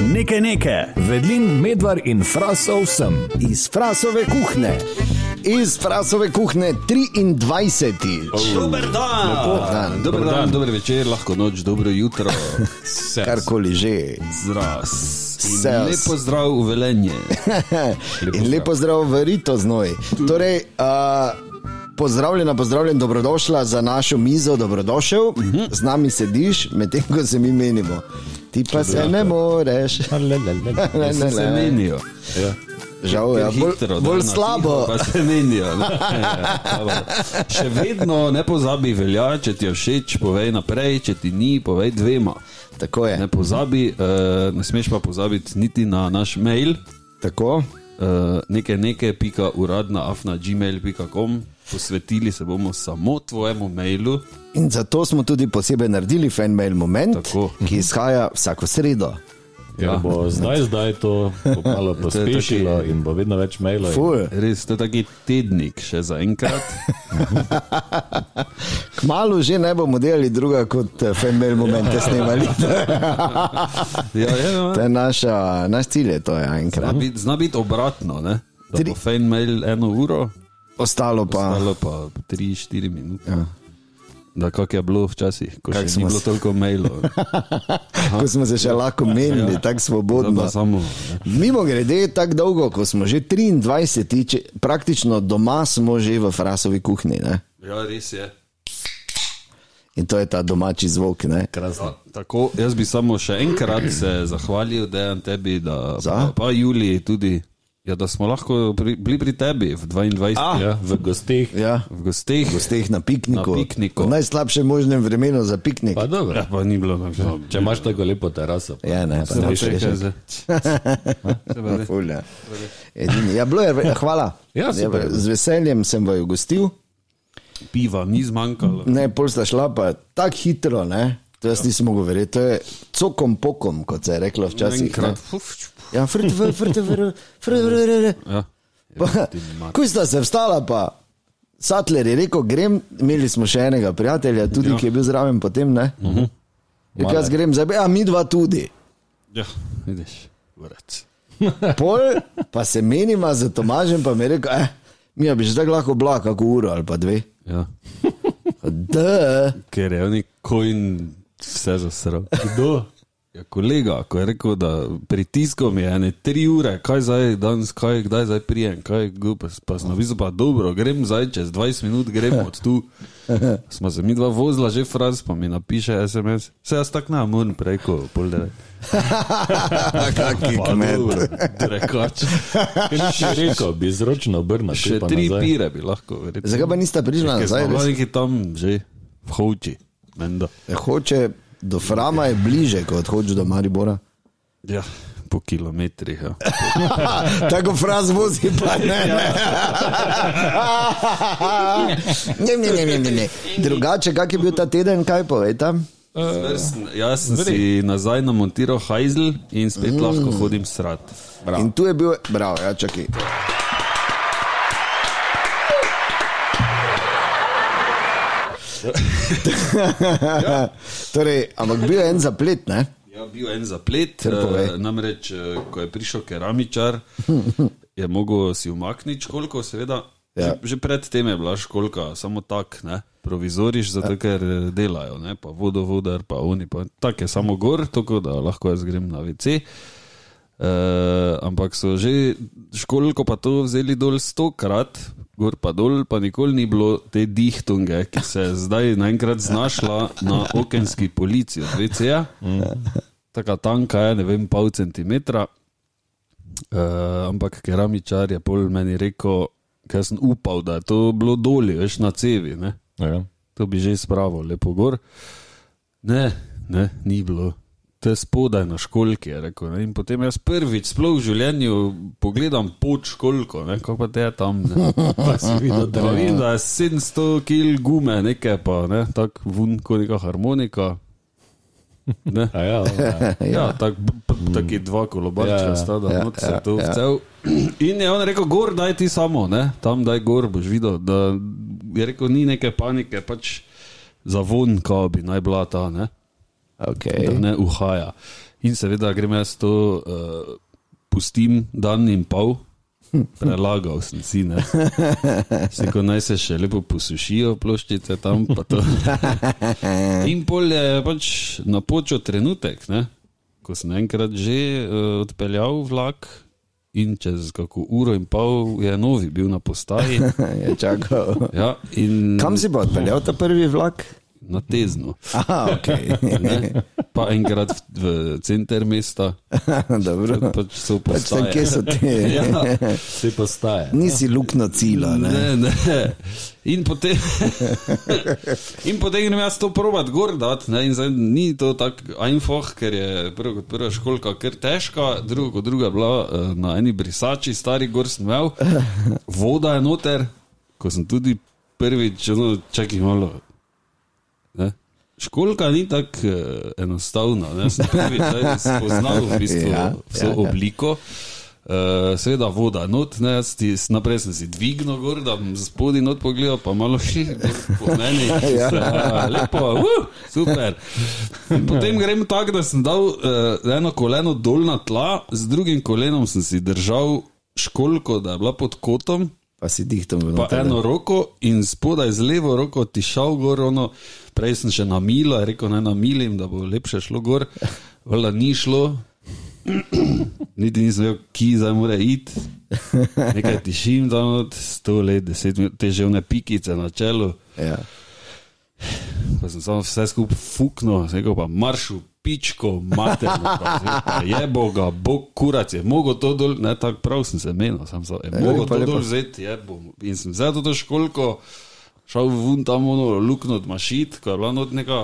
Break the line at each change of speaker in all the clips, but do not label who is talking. Nekaj nekaj.
Vedlin, medvar in frasov sem.
Iz frasove kuhne. Iz frasove kuhne 23.
Dober dan.
dan.
Dober dan, dober večer, lahko noč, dobro jutro. Vse
Karkoli že.
Zraz. In
Vse.
Lepo zdrav v velenje.
In lepo zdrav, verito znoj. Torej, uh, pozdravljena, pozdravljen, dobrodošla za našo mizo, dobrodošel.
Mhm.
Z nami sediš, medtem ko se mi menimo. Ti pa se ne moreš. Ne, ne,
Se, se
ne.
menijo.
Žal je, ja, bolj,
Hitro,
bolj
da, na
slabo.
tiho Pa se menijo. ne. Ja, dobro. Še vedno ne pozabi velja, če ti je všeč, povej naprej, če ti ni, povej dvema.
Tako je.
Ne pozabi, eh, ne smeš pa pozabiti niti na naš mail,
Tako.
eh, nekaj nekaj, pika uradna afna gmail.com. Posvetili se bomo samo tvojemu mailu.
In zato smo tudi posebej naredili fanmail moment,
Tako.
ki izhaja vsako sredo.
Ja. Ker bo zdaj, zdaj to bo malo pospešilo in bo vedno več mailov. in-
Ful.
Res, to je taki tednik, še za enkrat.
Kmalo že ne bomo delali druga kot eh, fanmail momente snemali.
Ja, je, no.
To je naša, naš cilj, je to je
Zna
enkrat.
biti- Zna biti obratno, ne? da
Tri-
bo fejn mail eno uro,
Ostalo pa.
ali pa 3-4 minute. Ja. Da, kak je bilo včasih, ko
Kak
še
smo
ni bilo
se-
toliko mailov.
Ko smo se še lahko menili, ja. tako
Zdaj pa
svobodno.
Samo,
Mimo grede, tako dolgo, ko smo že 23, če, praktično doma smo že v frasovi kuhinji. ne.
ja, res je.
In to je ta domači zvok. Ne?
Ja, tako, jaz bi samo še enkrat se zahvalil, da je tebi, da,
Za?
pa, pa Juliji tudi, ja, da smo lahko pri, bili pri tebi v 22.
Ja, v gostih.
Ja.
V gosteh.
Teh na pikniku.
Na pikniku.
V najslabšem možnem vremenu za piknik.
Pa dobro.
Ja, pa ni bilo tako. no,
Če imaš tako lepo teraso. pa-
Ja, ne, pa
Se
ne
pa
boš
čakaj
rešil.
zdaj. Se pa ne.
Ful, ja. Edini. Ja, bilo je, hvala.
Ja, super.
z veseljem sem vaju gostil.
Piva ni zmanjkalo.
Ne, pol sta šla pa tako hitro, ne. To jaz nisem mogel verjeti, to je cokom pokom, kot se je reklo včasih. ne.
Enkrat, fuf,
Ja, frt, frt, frt, frt, frt,
ja.
frt. Kuj sta se vstala pa. Satler je rekel, grem, imeli smo še enega prijatelja, tudi ja. ki je bil zraven potem, ne. Uh -huh. Jaz grem, zdaj, pa- ja, mi dva tudi.
ja, vidiš, vrec.
Pol pa se menima z Tomažem, pa mi je rekel, eh, mi bi že tako lahko bila kako uro ali pa dve.
Ja.
Da,
Ker je oni kojn vse zasral.
Kdo?
Ja, kolega, ko je rekel, da pritiskom je ene tri ure, kaj zdaj danes, kaj kdaj zdaj prijem, kaj gupes, pa smo vizu pa dobro, grem zdaj čez 20 minut, grem od tu. Smo se mi dva vozila, že fraz pa mi napiše SMS, se jaz tak na mun preko, pol dere.
kaki
Pa
kmet.
dobro, Drekač.
Ker nisi rekel, bi zročno obrnil.
Še
pa
tri
nazaj.
pire bi lahko, verjetno.
Zakaj pa nista prišla
Ker smo
nazaj? res?
bili neki tam že v hoči, menda.
E, Hoče do Frama je bliže, kot hoče do Maribora.
Ja, po kilometrih. Ja.
Tako fraz vozi, pa ne. ne. ne, ne, ne, ne, ne. Drugače, kak je bil ta teden, kaj povejte?
Vrstn, jaz sem si nazaj namontiral hajzel in spet mm. lahko hodim srat.
In tu je bil, bravo, ja, čakaj. torej, ampak bil je en zaplet, ne?
Ja, bil je en zaplet,
Kar povej.
eh, namreč, eh, ko je prišel keramičar, je mogel si umakniti školko, seveda.
Ja.
Ja. Že predtem je bila školka, samo tak, ne, provizoriš, zato ja. ker eh, delajo, ne, pa vodovodar, pa oni, pa tako je samo gor, tako da lahko jaz grem na WC. Uh, ampak so že školko pa to vzeli dol stokrat, gor pa dol, pa nikoli ni bilo te dihtunge, ki se je zdaj naenkrat znašla na okenski policiji od VCA. Taka tanka je, ne vem, pol centimetra. Uh, ampak keramičar je pol meni rekel, ker sem upal, da je to bilo dolje, veš na cevi. Ne?
Ja.
To bi že spravil, lepo gor. Ne, ne, ni bilo. To je spodaj na školki, je rekel. Ne? In potem jaz prvič sploh v življenju pogledam pod školko, ne? kako pa te je tam. Ne? Pa si videl, da, vidim, da je 700 kg gume, nekaj pa, ne? tako vun kot neka harmonika. Ne?
A ja, ja.
Ja, tako taki dva
Ja,
kolobarča, ja, sta da ja, se ja, to vcel. In je on rekel, gor daj ti samo, ne? tam daj gor, boš videl. Da, je rekel, ni neke panike, pač za von, kao bi naj bila ta. Ne?
Okay.
da ne uhaja. In seveda grem jaz to, uh, pustim dan in pol, prelagal sem si, ne. Seko naj se še lepo posušijo ploščice tam, pa to. In pol je pač napočil trenutek, ne, ko sem enkrat že uh, odpeljal vlak. In čez kako uro in pol je novi bil na postaji.
Je čakal.
Ja, in
Kam si pa odpeljal ta prvi vlak?
na tezno.
Aha, okay.
Ne? Pa enkrat v, v center mesta,
Dobro.
pač so
Pač tam,
postaje.
kje so te.
Ja,
Vse postaje.
Nisi luknja cila. Ne?
ne, ne. In potem, in potem grem jaz to probat gor dat, ne, in zdaj ni to tako einfach, ker je prvo kot prva školka kar težka, drugo kot druga je bila eh, na eni brisači, stari gor sem imel, voda je noter, ko sem tudi prvič, no, čakaj malo. Ne. Školka ni tako eh, enostavna, ne sem prvi, da sem spoznal v bistvu
Ja,
ja, vso ja, obliko. Uh, seveda voda, not, ne, jaz ti, s- naprej sem si dvignil gor, da bom spodaj not pogledal, pa malo še gor po meni. ja. Lepo, uh, super. In potem grem tako, da sem dal uh, eno koleno dol na tla, z drugim kolenom sem si držal školko, da je bila pod kotom
Pa si dihtom v
pa eno roko in spodaj z levo roko ti šel gor, ono, prej sem še na milo, rekel naj na milim, da bo lepše šlo gor, vela ni šlo. Niti nisem vedel, ki zdaj mora iti. Nekaj tišim, da od 100 let, 10 minut, te že vne pikice na čelu.
Ja.
Pa sem samo vse skupaj fuknil, sem rekel pa maršu, pičko, materno. pa sem rekel, pa Je boga, bog kurac je, mogo to dol, ne tako prav sem se menil, sem se,
Ja,
je mogo
lepo,
to
lepo.
dol vzeti, je bom. In sem vzel to školko. Šel vun tam ono luknjo od mašit, ko je bila not neka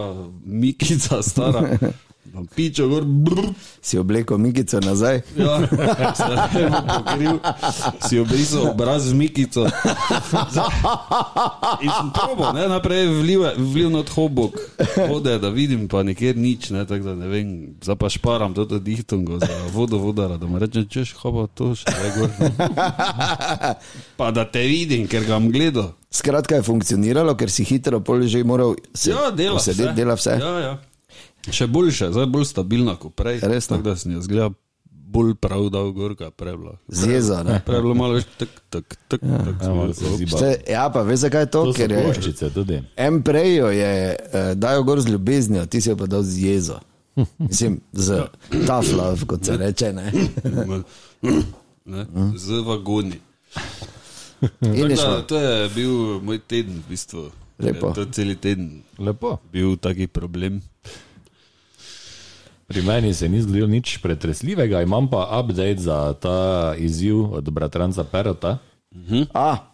mikica stara, tam pičo gor, brr,
Si oblekel mikico nazaj.
Ja, se je pokril, si obrisal obraz z mikico. In sem probo, ne, najprej vliva- vliv nad hobok, vode, da vidim, pa nikjer nič, ne, tako da ne vem, zdaj pa šparam to dihtongo za vodo vodara, da mu rečem, češ, hoba to še, ne, gor. Pa da te vidim, ker ga bom gledal.
Skratka je funkcioniralo, ker si hitro pol že moral se,
Ja, dela
posedeti,
vse.
dela vse. Ja.
Ja, ja. Še boljše, zdaj bolj stabilna kot prej.
Resno?
Tako da sem jaz gledal bolj prav dal gor, kaj je prej bilo.
Zjeza. ne.
Prej je bilo malo več tak, tak, tak, tak.
Ja, malo se ziba.
Vse, ja, pa veš, zakaj je to?
To so
Ker je
ploščice tudi.
en prej jo je eh, dal gor z ljubeznijo, ti si jo pa dal z jezo. Mislim,
Ja.
z tough love, kot se reče. Ne?
Ne,
Hm?
z vagoni.
In
Tako
je
Da,
šlo.
to je bil moj teden, v bistvu.
Lepo.
Je To cel teden
Lepo.
bil taki problem.
Pri meni se ni zgodilo nič pretresljivega, imam pa update za ta izziv od bratranca Perota.
A,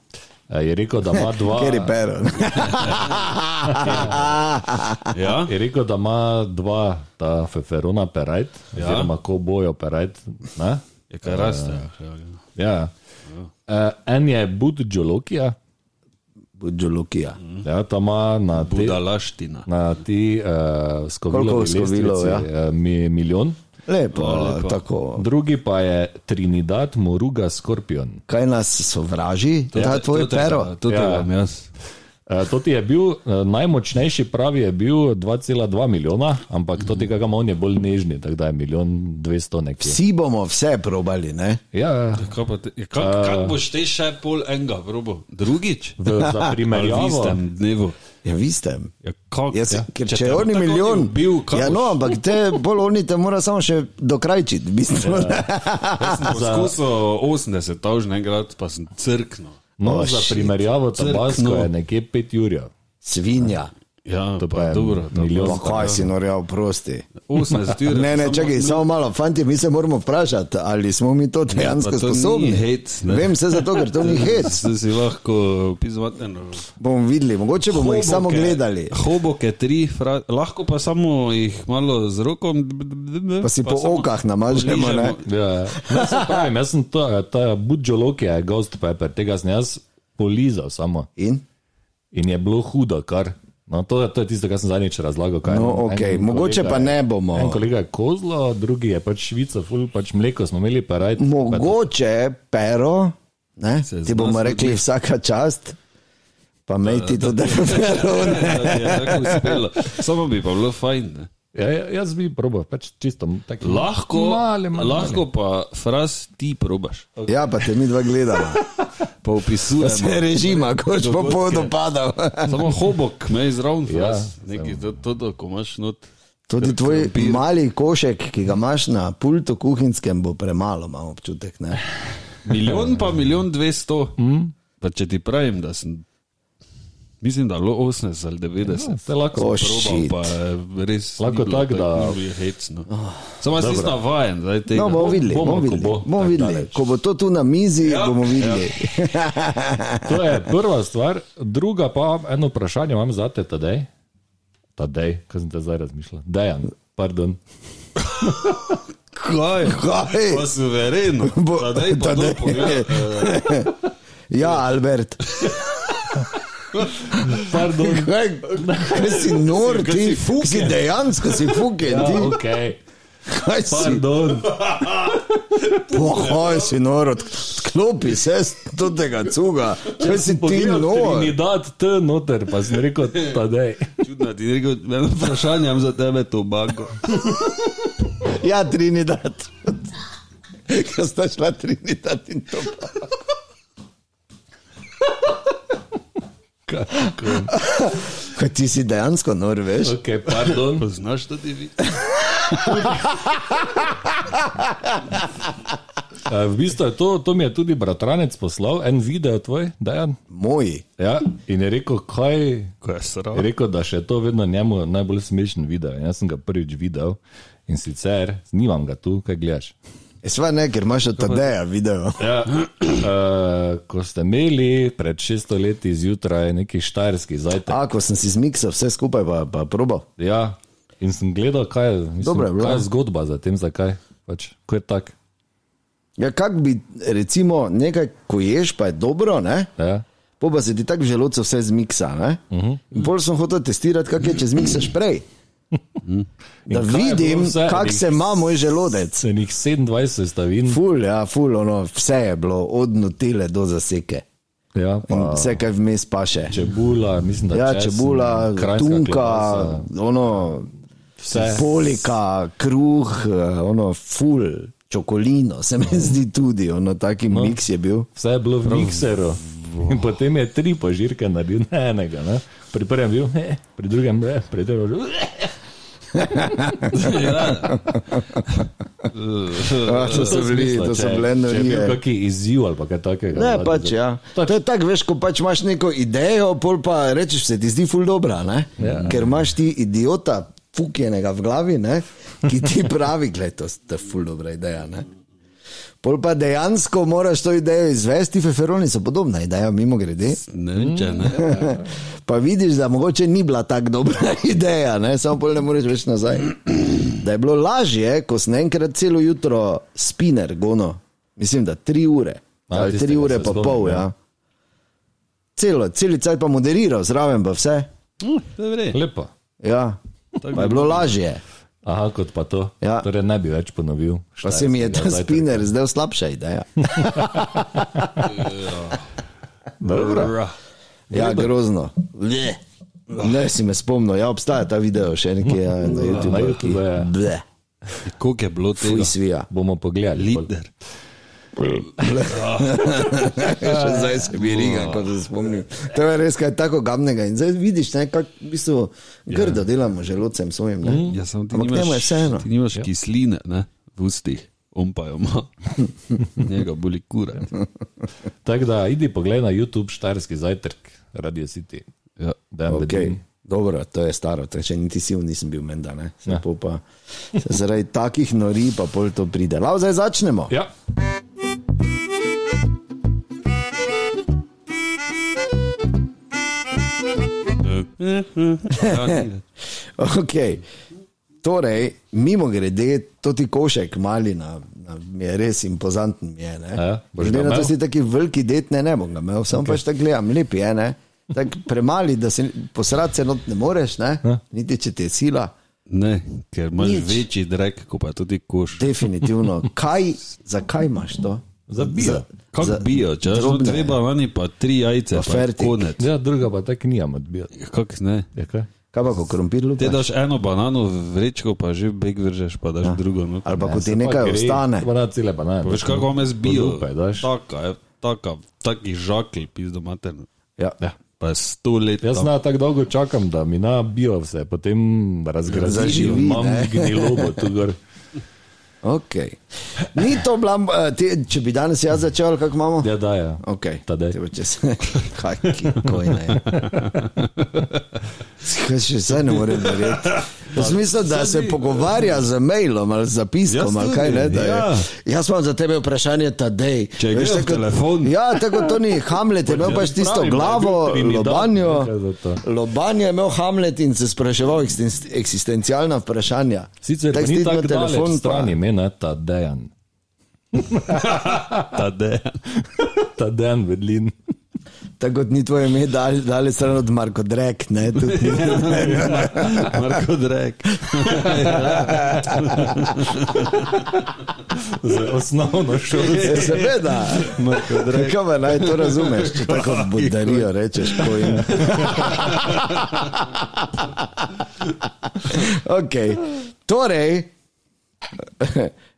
Eh, Je rekel, da ima dva.
kjer je pero.
Ja,
Je rekel, da ima dva, ta feferona perajt, ja. oziroma ko bojo perajt. ne?
je kar raste. Ja,
Ja. Uh, en je Bud Džolokija,
Budžolukija.
Mm.
ja, ta ima na te,
Budalaština.
na te uh, skovilo,
Koliko skovilov,
ja. mi, milijon.
Lepo,
Ja,
lepo, tako.
Drugi pa je Trinidad Moruga Skorpion.
Kaj nas sovraži, to je tvoje
Ja, To te-
pero.
To je
Ja.
vam jaz.
Eh, To ti je bil eh, najmočnejši, pravi je bil 2,2 milijona, ampak to
Mhm.
tega ima on je bolj nežni, tako da je milijon 200 nekje.
Vsi bomo vse probali, ne?
Ja,
Kaj pa te- ja, kak- kako boš te še pol enega, robo? Drugič?
v, za primerjavo.
istem dnevu.
Ja, vi ste.
Ja, kak,
Jaz, ja. Ker če, če je
te-
oni
tako
milijon,
bil, kaj
ja,
boš?
no, ampak te bolj oni te mora samo še dokrajčiti. v bistvu.
Ja. Poskusil 80 tožn enkrat, pa sem crknil.
No,
Oh,
za
shit.
primerjavo, tabasko
Crkno.
je nekje 5 jurjev.
Svinja,
Ja,
To
to
pa
pa
je
je dobro. to
milijon.
pa-
Ja. pa kaj si norjal, prosti.
80 ur.
Ne, ne,
Ja, samo-
čakaj, samo malo, fanti, mi se moramo vprašati, ali smo mi to dejansko
Ja, pa to ni
sposobni.
hec, ne.
Vem se zato, ker to ni hec.
Zdaj si lahko pismateno.
Bomo videli, mogoče bomo jih samo gledali.
Hoboke tri, fra, lahko pa samo jih malo z rokom.
Pa si po
samo
okah namažemo, ne?
poližemo.
Ja, ne, saj pravim, jaz sem ta, ta budžolok je ghost pepper, tega sem jaz polizal samo.
In?
In je bilo hudo, kar. No, to, je- to je tisto, kar sem zadnjič razlagal. kaj
No,
en-
ok,
en
mogoče
kolega
pa
je-
ne bomo.
En kolega je kozlo, drugi je pač švica, ful, pač mleko smo imeli, pa raj.
Mogoče, pero, ne,
Se
ti
zna
bomo
zgoditi.
rekli vsaka čast, pa mej ti to, da je pero.
Ja, je tako uspelo. Samo bi pa bilo fajn. Ne?
Ja, ja, jaz bi probal, pač čisto tako.
Lahko,
Male, male,
lahko pa fraz ti probaš.
Ja, pa te mi dva gledava.
Pa opisuje.
Se režima, koč pa bo dopadal.
Samo hobok, me izravn fraz.
Ja,
Ja, Nekaj, to, to, to, ko imaš not.
Tudi tvoj mali košek, ki ga imaš na pultu kuhinjskem, bo premalo, imam občutek. Ne? No,
Milijon pa milijon dvesto.
Hmm?
Mm. Pa če ti pravim, da sem. Mislim, da je bilo 80 ali 90.
Vse lahko.
Oh,
Probal,
shit.
pa je res.
Ja, Lahko tako, da-
Je hecno. no. Samo jaz nisem navajen. zdaj tega.
No, bomo videli, bomo
ko
videli.
bo,
Bomo
tako
videli.
daleč.
Ko bo to tu na mizi, ja, bomo videli. Ja.
To je prva stvar, druga pa eno vprašanje imam za te, tedej. Tedej, kaj sem te zdaj razmišljal. Dejan, pardon.
Kaj?
Kaj?
Pa suvereno.
Bo-
Pa daj, pa
Tadej.
to pogled. eh,
ja, Albert,
Pardon.
kaj, kaj si nor,
Kaj si
ti
fuken?
si dejansko si fuken,
Ja,
ti
ok,
kaj si,
pardon.
pohoj si nor, od- odklopi se s to tega cuga, kaj si ti
Pogledal
nor.
Trinidad, T noter, pa sem rekel, tedej.
Čudno ti je rekel, eno vprašanje imam za tebe, tobago.
Ja, Trinidad. Kaj sta šla Trinidad in to? Kaj ti si dejansko nor, veš?
Ok, pardon.
Znaš to ti vi?
Eh, V bistvu je to, to mi je tudi bratranec poslal, en video tvoj, Dejan.
Moji.
Ja, in je rekel, kaj.
Ko je
Je
sram.
rekel, da še je to vedno njemu najbolj smešen video. In Jaz sem ga prvič videl in sicer, nimam ga tu, kaj gledaš.
E, Sva ne, ker imaš od Tadeja video.
Ja, uh, ko ste imeli pred 600 leti zjutraj neki štajerski zajtrk.
A, ko sem si zmiksal vse skupaj, pa, pa probal.
Ja, in sem gledal, kaj je, mislim,
Dobro je bilo.
kaj je zgodba za tem, zakaj. Pač, ko je tako.
Ja, kak bi, recimo, nekaj, ko ješ, pa je dobro, ne?
Ja.
Po pa se ti tako v želodcu vse zmiksa, ne? Uh
Mhm.
-huh. In pol sem hotel testirati, kak je, če zmiksaš prej. Da
In kaj je bilo
vidim,
vse?
kak
Nek-
se ima moj želodec.
Se njih 27 sestavin.
Ful, ja, ful, ono, vse je bilo, od notile do zaseke.
Ja,
In
pa
vse, kar vmes paše.
čebula, mislim, da
Ja,
česen,
čebula,
kranjska
tunka,
klobasa,
ono,
vse.
polika, kruh, eh, ono, ful, čokolino, se mi zdi tudi, ono, taki no. miks je bil.
Vse je bilo v mikseru. In potem je tri požirke naredil, ne enega. Ne? Pri prvem bil, eh, pri drugem ne, pri drugem že.
Ja, to so bili, to so bile norije.
Kaki izziv ali pa kaj takega.
Ne,
vladi
pač
za-
ja. To je tako, veš, ko pač imaš neko idejo, pol pa rečeš, se ti zdi ful dobra, ne?
Ja.
Ker imaš ti idiota, fukjenega v glavi, ne? Ki ti pravi, gled, to to je ful dobra ideja, ne? Pol pa dejansko moraš to idejo izvesti, feferoni so podobna ideja, mimo grede.
Ne vem, če ne.
Pa vidiš, da mogoče ni bila tako dobra ideja, ne? samo pol ne moreš več nazaj. Da je bilo lažje, ko sem enkrat celo jutro spinner gono, mislim, da tri ure,
A,
ali tri
tistega
ure
se
pa
spomnim,
pol,
ja.
ja. Celo, celi cel pa moderiral, zraven pa vse. Hmm.
Dobre.
Lepo.
Ja. Pa je bilo lažje.
Aha, kot pa to.
Ja.
Torej ne bi več ponovil.
Pa se mi je ta
štajerskega zajtrka.
spinner zdaj slabša ideja. Ja,
Dobro.
Ja, grozno. Ne. Ne si me spomnil, ja, obstaja ta video še nekje ja, na
na
YouTubu. ki-
YouTubeu, ja.
Ble,
Koliko je bilo tega?
fuj svija.
Bomo pogledali.
Lider.
Še zdaj se mi riga, ko se spomnim. To je res kaj tako gamnega. In zdaj vidiš, ne, kako v bistvu grdo delamo želodcem svojim. Ne?
Ja, samo ti
Ampak njemu je
nimaš,
vseeno.
ti nimaš kisline ne, v ustih, on pa jo ima. Njega boli kura.
Tako da, idi pogled na YouTube štajerski zajtrk, Radio City.
Ja.
Da,
Okay. Dobro, to je staro, to je še niti sil nisem bil menda. ne. Saj
Ja.
pol Pa, se zaradi takih nori pa pol to pride. Lav, zdaj začnemo.
Ja.
Okay. Torej, mimo grede, to ti košek mali na, na, mi je res impozanten. mi Je, ne.
Ja, boš ga
Glede na to,
imel?
da si taki veliki det, ne, ne bom ga imel, samo okay. pač tako gledam, lep je. Ne. Tak premali, da se posrati se not ne moreš, ne? niti če te je sila.
Ne, ker imaš
Nič.
večji drek, kot pa tudi koš.
Definitivno. Kaj, zakaj imaš to?
Za bio.
Kako bijo, no, če že
drobne.
treba, vani pa tri jajce, pa je
Fertik.
konec.
ja, druga pa tako nijam odbijati.
Kako ne?
Ja, kaj?
Kaj pa, ko krompir
Ti
lupi?
daš eno banano v vrečko, pa že beg vržeš, pa daš ja. drugo. No.
Ali pa ko ti
Se pa
nekaj
gre,
ostane.
Pa na cele banane.
Veš, kako vam je zbil?
Podupaj daš.
Taka, je, taka, taki žakli, pizdo materno.
Ja.
Ja.
Pa je sto let.
Jaz
tam.
na tako dolgo čakam, da mi nabijo vse, potem razgrazijo,
Zaživi,
imam
ne.
gnilobo tu gor.
Okay. Ni to blam, eh, te, če bi danes jaz začel, kako imamo?
Ja, da, ja.
Okay.
Tadej.
Te bo čez- Kaj, ki kojne. Kaj še zdaj ne morem verjeti. Jaz mislim, da se pogovarja z mailom ali zapiskom
Jaz
ali
tudi,
kaj ne. da je-
ja.
Jaz imam za tebe vprašanje, Tadej.
Če
Veš,
gre v
tako-
telefon.
Ja, tako to ni. Hamlet je imel pač tisto
pravim, da je
glavo,
bil Trinidad,
lobanjo.
nekaj za to.
Lobanjo je imel Hamlet in se spraševal eksisten- eksistencialna vprašanja.
Sicer
Tako
tak ni
stisnil
tako
telefon,
telefon
pa-
stran ime, ne, ta dejan.
Ta dejan.
Ta dejan vedlin.
Tako kot ni tvoje ime, dal- dali stran od Marko Drek, ne, tudi ni.
Marko Drek.
Z osnovno šolsko.
Ja, Seveda, kako me naj to razumeš, če tako budarijo rečeš, ko jim. okay. Torej,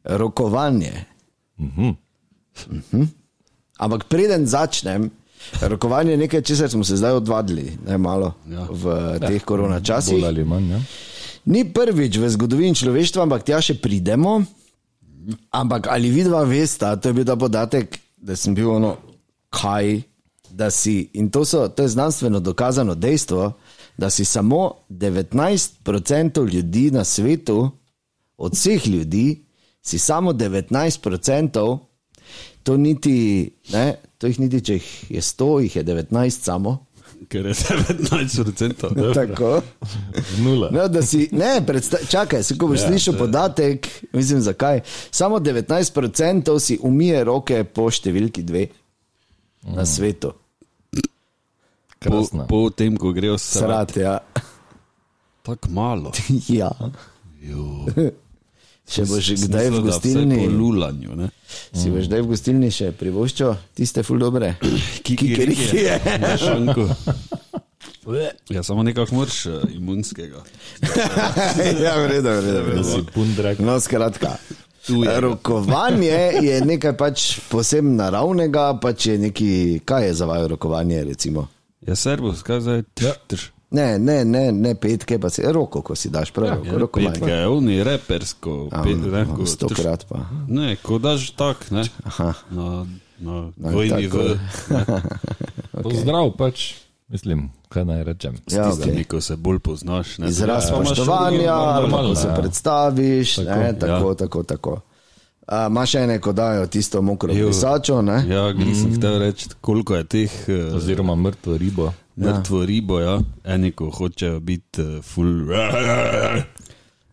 rokovanje. Mhm. Ampak preden začnem, rokovanje je nekaj, česar smo se zdaj odvadili, ne malo ja. v teh korona
Bolj
časih.
ali manj, ja.
Ni prvič v zgodovini človeštva, ampak tja še pridemo. Ampak ali vidva veste, to je bil ta podatek, da sem bil ono, kaj da si. In to, so, to je znanstveno dokazano dejstvo, da si samo 19% ljudi na svetu, od vseh ljudi, si samo 19%, to, niti, ne, to jih niti, če jih je 100, jih je 19 samo.
Ker je 19%.
Ja, Tako.
Nula.
No, da si, ne, predsta, čakaj, se ko boš slišal podatek, mislim zakaj. Samo 19% si umije roke po številki dve na svetu.
Po,
Krasno.
po tem, ko grejo srat.
Srat, ja.
Tako malo.
ja. Če boš kdaj v
Mislim, da vsaj
gostilni,
Po lulanju, ne?
si boš kdaj v gostilni še privoščil tiste ful dobre. Kikiriki je.
Na šanku. Ja, samo nekako moraš eh, imunskega.
ja, v redu, v redu. v
Da
redu.
si pundrek.
No, skratka.
Tujega.
Rokovanje je nekaj pač posebno naravnega, pač je neki, kaj je za vaju rokovanje, recimo.
Ja, servus, kaj zdaj? Ja.
Ne, ne, ne, ne petke, pa se roko, ko si daš prav, ja, rokovanje.
Petka je oni repersko,
Ja,
pet,
no,
ne, ko, trš,
Stokrat pa.
ne, ko daš tak, ne, na, na
No,
dvojni
tako.
v,
Pozdrav pač. Mislim, kaj naj rečem.
Ja,
ja,
okay.
okay. ko se bolj poznaš. Ne, Ja,
Izraz
Ja,
pa imaš
spoštovanja,
drugo,
ali pa ko
normalno,
se
ja.
predstaviš, tako, ne,
Tako,
tako, ja. tako, tako. A, Ma še ene, ko dajo tisto mokro
Jo.
pisačo, ne? Ja.
Ja, nisem hotel reči, koliko je teh eh,
Oziroma mrtvo ribo.
mrtvo ribo, ja. eni, ko hočejo biti eh, ful.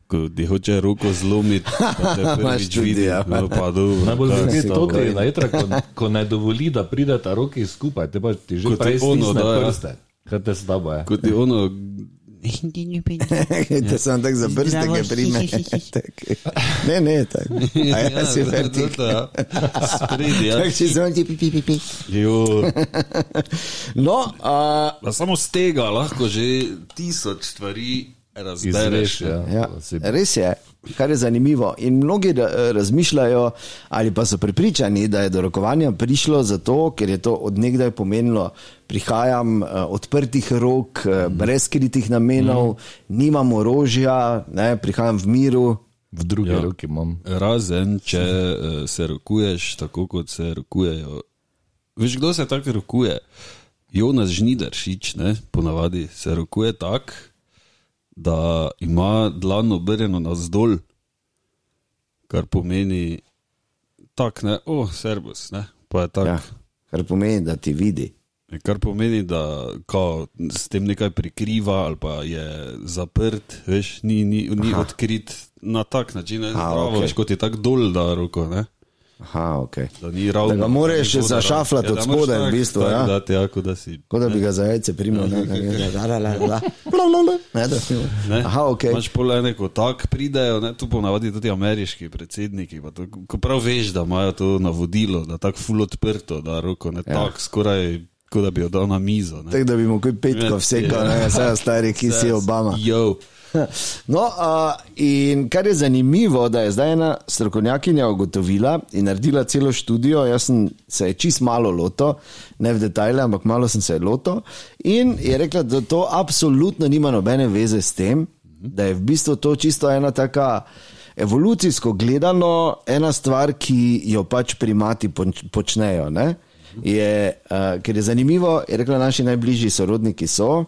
Ko ti hoče roko zlomiti, pa te prvič
tudi,
vidi,
ja.
no, pa dobro.
Najbolj
tako,
zanimivo je to,
slabo.
ko je na jetra, ko, ko ne dovoli, da pride ta roki skupaj, te pa ti že
Ko ti
prej
ono
stisne
da, ja.
prste. Kaj te slabo eh? je?
Ko ti ono,
Te sem tako za prste, ki prime. Tako. Ne, ne, tako. A ja, si vertik.
Spredi, ja.
Tako si zvonci, pi, pi, pi, pi.
Jo.
No, a,
Pa samo z tega lahko že tisoč stvari
Izreš,
razbereš.
ja.
Ja,
To si-
res je, kar je zanimivo. In mnogi ra- razmišljajo ali pa so prepričani, da je do rokovanja prišlo zato, ker je to odnegdaj pomenilo, prihajam eh, odprtih rok, eh, brez skritih namenov, nimam orožja, ne, prihajam v miru.
V drugi ja. roki imam.
Razen, če eh, se rokuješ tako, kot se rokujejo. Veš, kdo se tako rokuje? Jonas Žnidaršič, ne, ponavadi se rokuje tako, da ima dlan obrnjeno navzdol, kar pomeni tak, ne, o, oh, servus, ne, pa je tako.
Ja,
Ja.
kar pomeni, da ti vidi.
Kar pomeni, da kao, s tem nekaj prikriva ali pa je zaprt, veš, ni, ni, ni odkrit na tak način, ne, zdravo,
okej.
okay. veš, kot je tako dol da roko. Ne?
Aha, okay.
Da, ni ravno,
Da ga moreš
ni voda
zašaflat
ravno. Ja,
od
da moraš
spodaj v
tak-
bistvu,
tak
ja.
dati, ja, kot da si.
Kot da bi ga za jajce primil. Ne, ne, la, la, la, la. La, la, la. Ne, da-
Ne?
Aha, ok.
Imaš pol ene, ko tak pridejo, ne? tu ponavadi tudi ameriški predsedniki. pa To, ko prav veš, da imajo to navodilo, da tako ful odprto, da roko ne ja. tako skoraj Tako da bi jo dal na mizo.
Tako da bi mu kaj petko vsekal, ne vse stari, ki si Obama.
Jo.
No, a, in kar je zanimivo, da je zdaj ena strokovnjakinja ugotovila in naredila celo študijo. Jaz sem se je čist malo lotil, ne v detajle, ampak malo sem se je lotil. In je rekla, da to absolutno nima nobene veze s tem, da je v bistvu to čisto ena taka. Evolucijsko gledano, ena stvar, ki jo pač primati poč- počnejo, ne? je, uh, ker je zanimivo, je rekla, naši najbližji sorodniki so,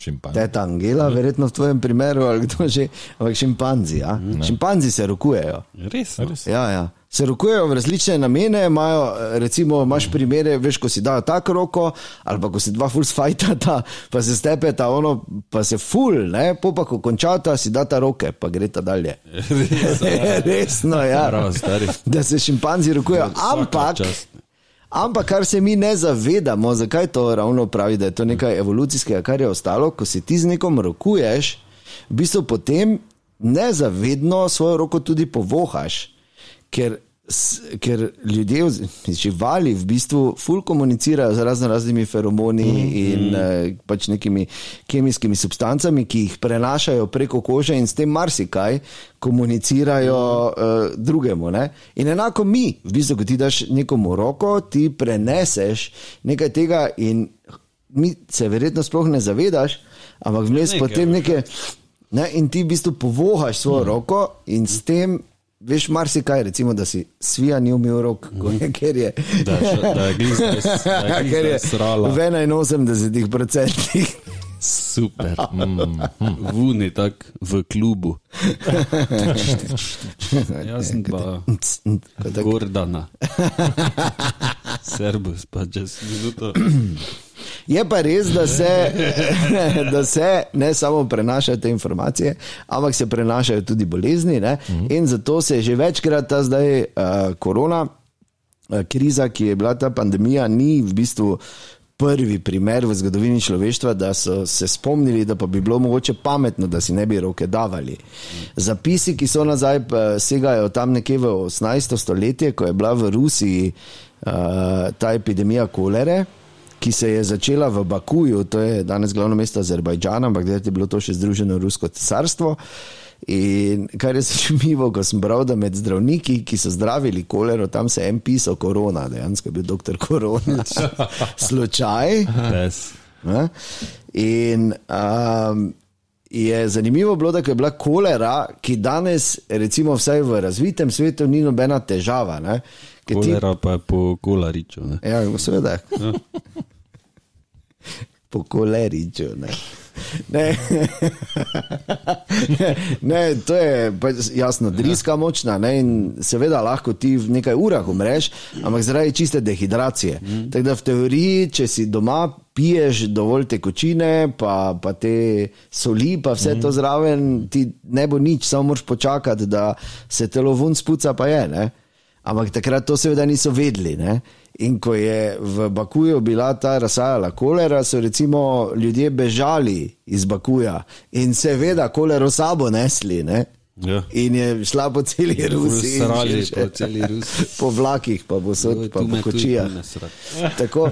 Šimpanz.
Teta
Mhm.
Angela, verjetno v tvojem primeru, ali kdo že, ampak šimpanzi. Ja?
Mhm.
Šimpanzi se rokujejo.
Res, no?
Ja, ja. Se rokujejo v različne namene, imajo, eh, recimo,
Mhm.
imaš primere, veš, ko si dajo tako roko, ali pa ko si dva ful fajtata, pa se stepeta, ono, pa se ful, ne, po pa ko končata, si data roke, pa greta dalje. Resno, ja.
Prav, stari.
Da se šimpanzi rokujejo.
Vsaka
Ampak,
čast.
ampak, kar se mi ne zavedamo, zakaj to ravno pravi, da je to nekaj evolucijskega, kar je ostalo, ko si ti z nekom rokuješ, v bistvu potem nezavedno svojo roko tudi povohaš. Ker, s- ker ljudje, oz- živali v bistvu ful komunicirajo z razno raznimi feromoni mm -hmm. in eh, pač nekimi kemijskimi substancami, ki jih prenašajo preko kože in s tem marsikaj komunicirajo eh, drugemu. Ne? In enako mi, v bistvu, ko ti daš nekomu roko, ti preneseš nekaj tega in mi se verjetno sploh ne zavedaš, ampak vmes
Nekaj,
potem neke. Ne, in ti v bistvu povohaš
Mhm.
svojo roko in s tem. Veš, marsikaj, recimo, da si svija ni umil rok, ko je, ker je.
Mhm. Da, še- da je glista, da
ker je
je srala.
V 81%
Super.
mm.
Vuni tak v klubu. Ja,
Ja,
Jaz sem pa
Ko tako-
Gordana. Serbus, pa če si minuto.
Je pa res, da se, da se ne samo prenašajo te informacije, ampak se prenašajo tudi bolezni. Ne? In zato se je že večkrat ta zdaj uh, korona, uh, kriza, ki je bila ta pandemija, ni v bistvu. Prvi primer v zgodovini človeštva, da so se spomnili, da pa bi bilo mogoče pametno, da si ne bi roke davali. Zapisi, ki so nazaj, eh, segajo tam nekje v 18. stoletje, ko je bila v Rusiji uh, ta epidemija kolere ki se je začela v Bakuju, to je danes glavno mesto Azerbajdžana, ampak takrat je bilo to še Združeno rusko cesarstvo. In kar je zanimivo, ko sem bral, da med zdravniki, ki so zdravili kolero, tam se je en pisal korona, dejansko je bil doktor korona, slučaj.
Pes.
Ne? In um, je zanimivo bilo, da ko je bila kolera, ki danes, recimo, vsaj v razvitem svetu, ni nobena težava. Ne? Ker ti
Kolera pa je po kolariču. Ne?
Ja, seveda. Po koleriču. Ne. Ne. ne, to je pač jasno, driska močna ne, in seveda lahko ti v nekaj urah umreš, ampak zaradi čiste dehidracije. Mm. Tako da v teoriji, če si doma piješ dovolj tekočine, pa, pa te soli, pa vse mm. to zraven, ti ne bo nič, samo moraš počakati, da se telo vun spuca, pa je. Ne. Ampak takrat to seveda niso vedeli. Ne? In ko je v Bakuju bila ta razsajala kolera, so recimo ljudje bežali iz Bakuja in seveda kolero sabo nesli. Ne?
Ja.
In je šla po celi Rusiji, in
Srali
še-
po celi Rusiji.
po vlakih, pa posod, pa po
Tu me tudi
kočijah.
ponesrat.
Tako.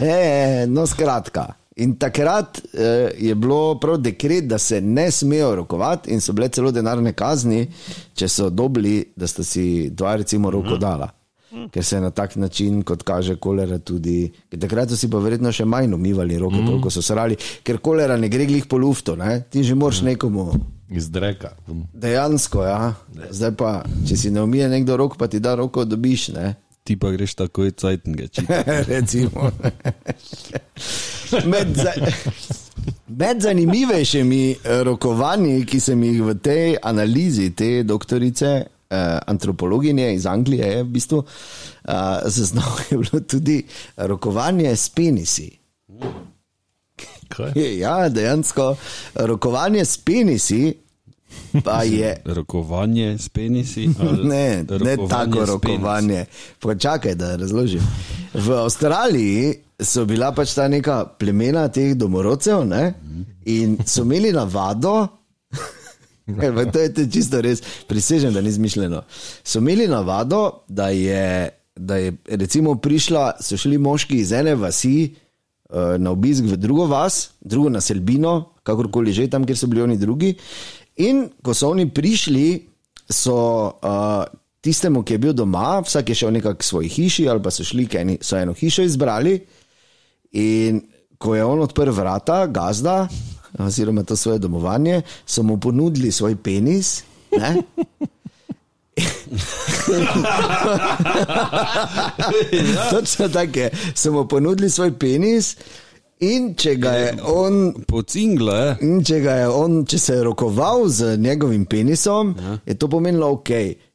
e, no, skratka. In takrat eh, je bilo prav dekret, da se ne smejo rokovati, in so bile celo denarne kazni, če so dobili, da sta si dva, recimo, roko dala. Ker se je na tak način, kot kaže kolera, tudi. ker Takrat so si pa verjetno še manj umivali roke, mm. koliko so srali, ker kolera ne gre glih po luftu, ne? ti že moraš nekomu.
Izdreka.
Dejansko, ja. Zdaj pa, če si ne umije nekdo rok, pa ti da roko, dobiš. Ne?
Ti pa greš takoj cajtnge.
recimo. Med, za, med zanimivejšimi eh, rokovanji, ki sem jih v tej analizi te doktorice. Uh, antropologinje iz Anglije je v bistvu uh, zaznal, je bilo tudi rokovanje s penisi.
Kaj?
Ja, dejansko rokovanje s penisi pa je
Rokovanje s penisi. ali
Ne, ne
rokovanje
tako
s penisi?
rokovanje. Počakaj, da razložim. V Avstraliji so bila pač ta neka plemena teh domorodcev ne? in so imeli navado. Ampak to je to je čisto res, prisežem, da ni izmišljeno. So imeli navado, da je da je recimo prišla, so šli moški iz ene vasi eh, na obisk v drugo vas, drugo naselbino, kakorkoli že tam, kjer so bili oni drugi. In ko so oni prišli, so uh, tistemu, ki je bil doma, vsak je šel nekako k svoji hiši ali pa so šli, ki so eno hišo izbrali. In ko je on odprl vrata, gazda, oziroma to svoje domovanje, so mu ponudili svoj penis. Ne? Točno tako je. So mu ponudili svoj penis, in če ga je on
Pocingla je.
In če, ga je on, če se je rokoval z njegovim penisom, ja. je to pomenilo ok.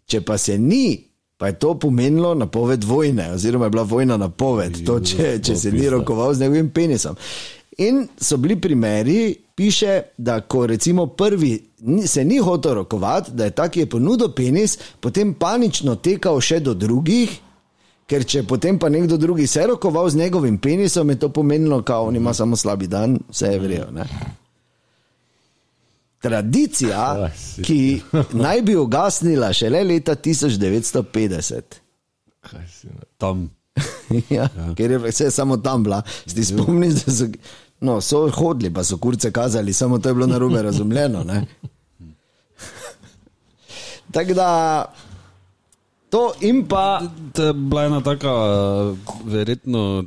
Če pa se ni, pa je to pomenilo napoved vojne, oziroma je bila vojna napoved, to, če, če se ni rokoval z njegovim penisom. In so bili primeri, piše, da ko recimo prvi ni- se ni hotel rokovati, da je ta, ki je ponudil penis, potem panično tekal še do drugih. Ker če potem pa nekdo drugi se je rokoval z njegovim penisom, je to pomenilo, da on ima samo slabi dan, vse je vredno. Tradicija, ki naj bi ugasnila šele leta 1950,
Kaj si ne-
Tam.
ja, ker je vse samo tam bila. Ste spomnili, da so, no, so hodili, pa so kurce kazali, samo to je bilo narobe razumljeno. ne. Tako da, to in pa.
To je bila ena taka, eh, verjetno,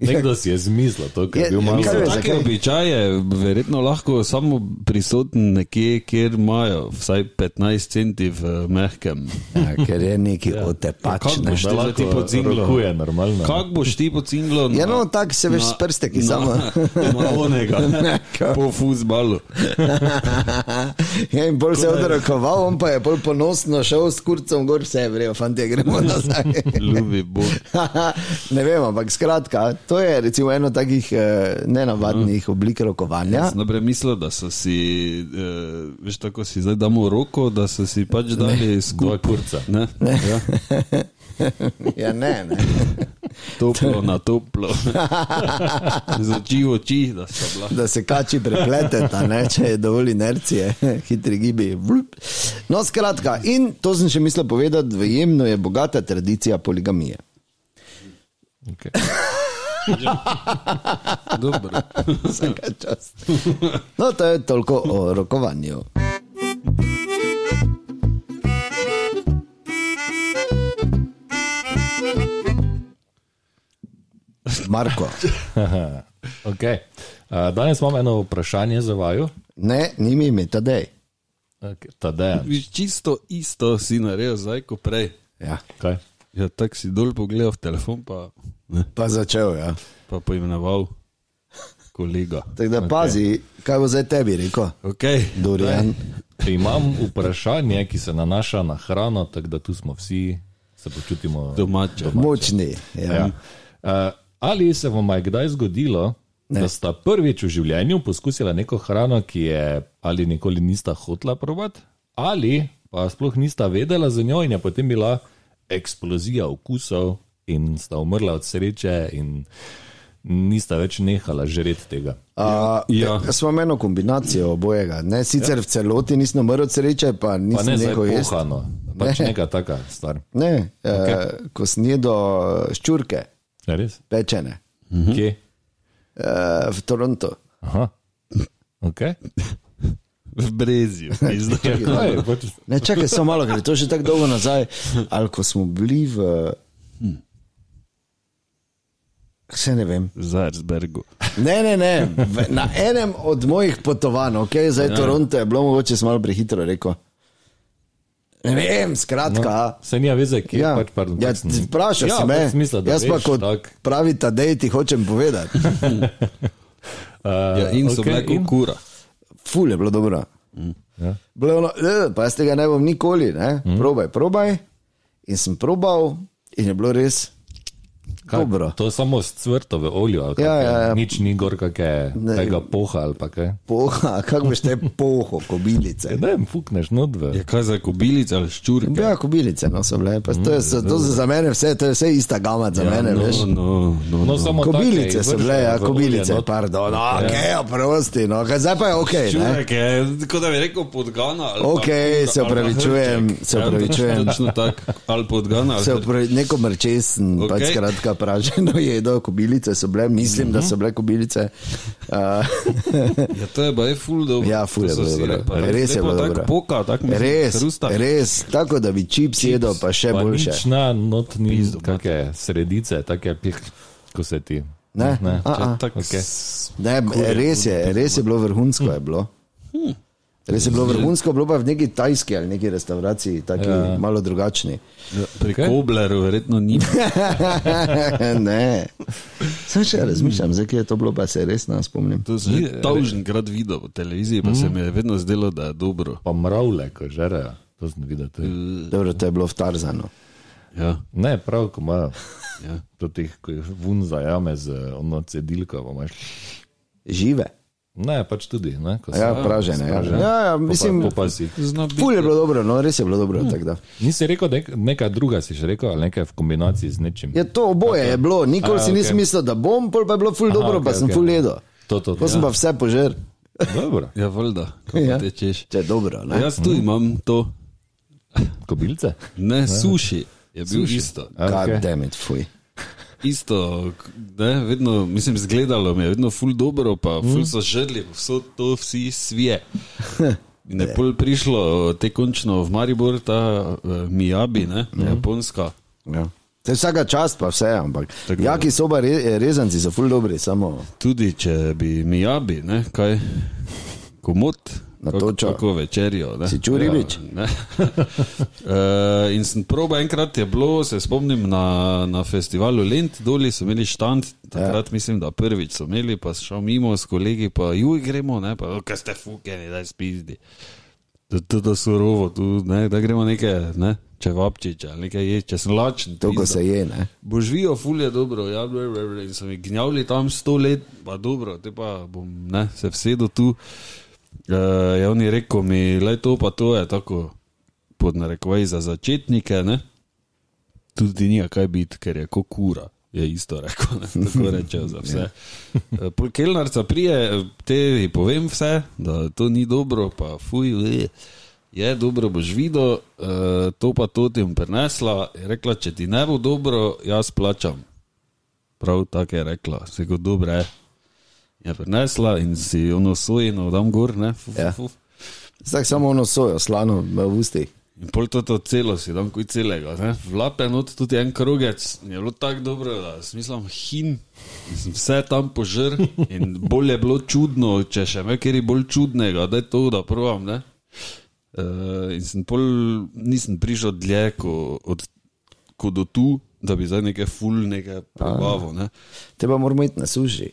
Nekdo si je zmislil to, kar
Je-
je bil malo
kaj veš?
za-
Take
zakaj?
običaje, verjetno lahko samo prisoten nekje, kjer imajo vsaj 15 centi v eh, mehkem.
Ja, ker je neki ja. otepač.
Kako
ne.
boš ti
da
zdaj ti
lahko
pocinglo?
rokuje normalno.
Kako boš ti pocinglo? na-
Ja, no, tako se veš
na-
s prste, ki
na-
samo.
Na onega, ne, po fuzbalu.
Ja, in bolj se je odrokoval, on pa je bolj ponosno šel s kurcem gor, vse je vrelo, fanti, gremo nazaj.
Ljubi Bog.
ne vem, ampak skratka, to je recimo eno takih eh, nenavadnih oblik rokovanja.
Jaz najprej mislil, da so si, eh, veš, tako si zdaj damo roko, da so si pač dali
Dva
skupaj.
kurca.
Ne, ja,
Ja, ne, ne.
toplo na toplo. Z oči v oči, da so bila.
Da se kači prepleteta, ne, če je dovolj inercije, hitri gibi. vlup. No, skratka, in to sem še mislil povedati, v Jemnu je bogata tradicija poligamije.
Okay.
Dobro.
Vsaka čast. No, to je toliko o rokovanju. Marko,
Okay. Uh, danes imam eno vprašanje za vaju.
ne, ni mi ime, tadej.
Okay. Tadeja.
Viš, Čisto isto si naredil zdaj, kot prej.
Ja.
Kaj?
Ja, tako si dol pogledal v telefon, pa, ne,
Pa začel, ja.
pa poimenoval kolega.
Tako da okay. pazi, kaj bo zdaj tebi rekel.
Okay.
Dorian,
Imam vprašanje, ki se nanaša na hrano, tako da tu smo vsi, se počutimo
Domače.
močni. pač. Ja.
Ja.
Ja.
Uh, ali se vam je kdaj zgodilo, ne. da sta prvič v življenju poskusila neko hrano, ki je ali nikoli nista hotla provat, ali pa sploh nista vedela za njo in je potem bila eksplozija okusov in sta umrla od sreče in nista več nehala žreti tega.
A,
Ja.
ja. Smo imeli eno kombinacijo obojega. Ne, sicer ja. v celoti nisem umrl od sreče, pa
Pa ne
nisem
zdaj
neko jesti.
pohano, pač
Ne.
ne. neka taka stvar.
Ne, okay. eh, ko sem jedel eh, ščurke,
Ja, Res?
pečene
Mhm. Kje?
eh, v Torontu.
Aha. Okay.
V brezju. pizda.
Kaj, pač,
Ne, čakaj, samo malo, ker je to že tako dolgo nazaj. Ali ko smo bili v. Vse ne vem.
V Zarsbergu.
Ne, ne, ne. V, na enem od mojih potovanj, okay, zdaj ja. Toronto je bilo mogoče sem malo prehitro rekel. Ne vem, skratka. No.
se nija veze, kje ja. pač, pardon,
ja,
pač sem-
vprašaj
ja,
se
pač
me.
sem mislil, da
Jaz pa
veš,
kot
tako.
pravi Tadej ti hočem povedati.
Uh,
Ja, in so okay, bile kot kura.
ful je bilo dobro.
Ja.
Mm. Bilo je ono, "Eh, pa jaz tega ne bom Mm. nikoli, ne? probaj, probaj. In sem probal, in je bilo res
Kaj,
Dobro.
to je samo cvrto v olju, ali
Ja,
kaj,
ja, ja.
nič ni gor, kak je tega poha ali pa kaj.
Poha, kako boš te poho, kobilice.
Ja, Ne vem, fukneš not v.
Je Ja, kaj za kobilic ali ščurke?
Ja, kobilice no, so bile, pa to, je, so, to so za mene vse, to je vse ista gama za ja, mene, no, veš.
no, no,
No, samo
Kobilice
take
so
vržejo
bile,
v
ja,
olje
kobilice,
not.
pardon, no, ok, oprosti, no, kaj zdaj pa je ok, ne.
Čurek je, kot da bi rekel, podgana. ali pa
Ok,
kunda,
se
ali pa
opravičujem,
hrček.
se
Ja,
opravičujem.
Točno tako, ali podgana. Ali
Se
hrček.
opravi, neko mrčesen, okay.
Ok.
pač skratka, praženo jedo, kobilice so bile, mislim, mm -hmm. da so bile kobilice. Uh,
Ja, to je bilo ful dobro.
ja, fulje,
To so sire, pa
res je
lepo
bilo
tako
dobro.
Poka, tako mislim,
res,
hrusta.
res, tako da bi čips jedel, pa še
Pa
boljše.
nič na notni, kakšne sredice, take ja, pih, ko se ti.
Ne,
Ne,
a,
Ja,
a.
tako okay.
Ne, res je, res je bilo vrhunsko. Je bilo. Res je bilo vrhunsko, bilo pa v neki tajski ali neki restavraciji, tako ja. malo drugačni.
Pri Kobleru verjetno ni.
ne, sem še razmišljam, zakaj je to bilo, pa se res ne spomnim.
To sem že dolženkrat videl po televiziji, pa se mi je vedno zdelo, da je dobro.
pa mravlje, ko žerejo. To sem videl. To je.
Dobro, to je bilo v Tarzanu.
Ja,
ne, prav, ko imajo.
ja.
To teh, ko jih vun zajame z eh, ono cedilko. pa imaš-
Žive,
Ne, pač tudi. Ne, ko se-
ja, pražene. Ja, ja, ja mislim,
Pa, pa si.
Zna biti.
ful je bilo dobro, no, res je bilo dobro. tako da.
Nisi rekel, nek, nekaj druga si še rekel, ali nekaj v kombinaciji z nečim.
Je to oboje je bilo, nikoli
Aja,
si nisem
ok.
mislil, da bom, pol pa je bilo ful dobro, pa
ok,
sem
ok. Ja.
ful jedo.
To, to, to.
Pa sem pa vse požer.
Dobro.
Ja, valjda, kako
Ja.
ja. tečeš.
Če je dobro, ne?
Jaz tu imam to,
Kobilce?
Mhm. ne suši, je bil suši. isto.
A,
God
okej.
damn it, fuj.
Isto, ne, vedno, mislim, zgledalo mi je, vedno ful dobro, pa ful so žrli, vso to vsi svije. In je pol prišlo, eh, te končno v Maribor, ta eh, Mijabi, ne, japonska.
Ja. Te vsaka čast, pa vse, ampak.
Tako da-
Jaki soba re, rezanci so ful dobri, samo
Tudi če bi Mijabi, ne, kaj, komod.
Na
kako-
točo.
Kako večerjo. ne.
Si čul, Ribič?
Ja, uh, in sem proba enkrat je bilo, se spomnim na, na festivalu Lent, dolje so imeli štand, takrat ja. mislim, da prvič so imeli, pa sem šel mimo s kolegi, pa juj gremo, ne, pa kaj ste fukeni, da spizdi. Da, da, da surovo, tu, ne, da gremo nekaj, ne, če vapčiče, ali nekaj je, če sem lačen.
to, ko
pizda.
se je, ne.
Božvijo, fulje dobro, ja, bre, bre, bre, in so mi gnjavili tam sto let, pa dobro, te pa bom ne, se vsedel tu. Uh, je on je rekel mi, le to pa to je tako pod narekovaj za začetnike, ne? tudi ni kaj biti, ker je kot kura. Je isto rekel, ne? tako rečejo za vse. Eh, Pol kelnarca prije, te povem vse, da to ni dobro, pa fuj, le. je dobro, boš videl, eh, to pa to ti bom prenesla. Je rekla, če ti ne bo dobro, jaz plačam. Prav tako je rekla, se kot dobre. je. Je prenesla in si ono sojeno, dam gor, ne. Fuf,
Ja.
ja. fuf.
Zdaj samo ono sojo, slano v ustih.
In pol to, to celo si dam kuj celega, ne? vlape not tudi en krogec, in je bilo tako dobro, da smislam hin, in sem vse tam požrl in bolje je bilo čudno, če še me kjer je bolj čudnega, da je to, da provam, ne. Uh, in sem pol, nisem prišel dlje, ko, od, ko do tu, da bi zdaj nekaj ful, nekaj probavo, ne.
Te pa moramo iti na suši.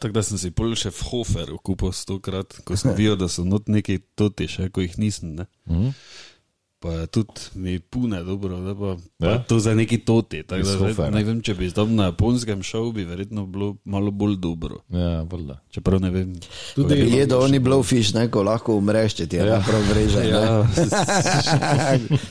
Tako da sem si pol še v Hoferu kupil stokrat, ko sem videl, da so not neki toti, še ko jih nisem. Ne?
Mhm.
Pa je tudi mi pune, dobro, da pa, pa
Ja.
je to za neki toti. tako
Iz
da zdaj
Hoferja.
Ne vem, če bi tam na japonskem šel, bi verjetno bilo malo bolj dobro.
Ja, valjda.
Čeprav ne vem.
Tudi-
kako je bilo.
Jedo oni blowfish, ne, ko lahko umreš, če ti je ja. prav vreže. Ja.
Ja, si-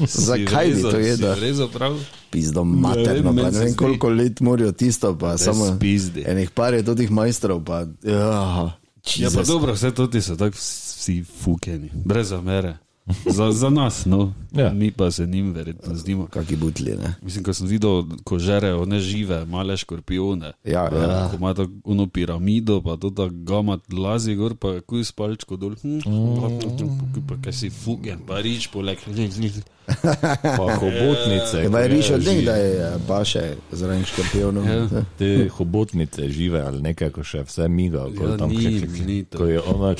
Zakaj bi
vrezal,
to
si
jedel?
Vrezal prav.
Pizdo materno,
Ne vem,
pa
meni
ne
se
vem
zdi-
koliko let morajo tisto, pa samo
spizdi.
Enih par je tudi majstrov, pa ja,
Ja, pa
Jesus.
dobro, vse toti so tako vsi fukeni, brez zamere. Za, za nas, no.
Ja.
Mi pa se njim verjetno zdimo.
kaki butli, ne.
Mislim, ko sem videl, ko žerejo ne žive, male škorpione.
Ja,
Pa,
ja.
Ko ima tako eno piramido, pa to tako gama lazi gor, pa kuj s palčko dol. Hm, pa kaj si fugen, pa rič poleg.
Pa hobotnice.
Je
ko
pa je rišel
že-
ding, da je pa še zraven škorpionov.
Ja.
Te hobotnice žive ali nekaj, ko še vse miga. Ko,
Ja,
tam,
ni,
klik, klik,
ni to.
ko je ona,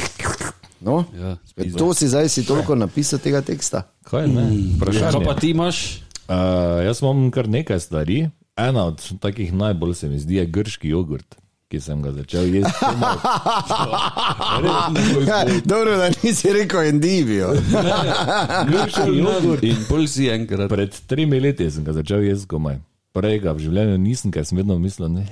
No,
Ja,
ja, to si zdaj si toliko napisal tega teksta.
kaj ne?
Ja, Kaj
Vprašanje.
pa ti imaš?
Uh, jaz imam kar nekaj stvari. Ena od takih najbolj se mi zdi je grški jogurt, ki sem ga začel jesti. komaj.
Ja, dobro, da nisi rekel endivijo.
Grški jogurt. In bolj si enkrat.
Pred tremi leti sem ga začel jesti, komaj. prej ga v življenju nisem, ker sem vedno mislil, ne.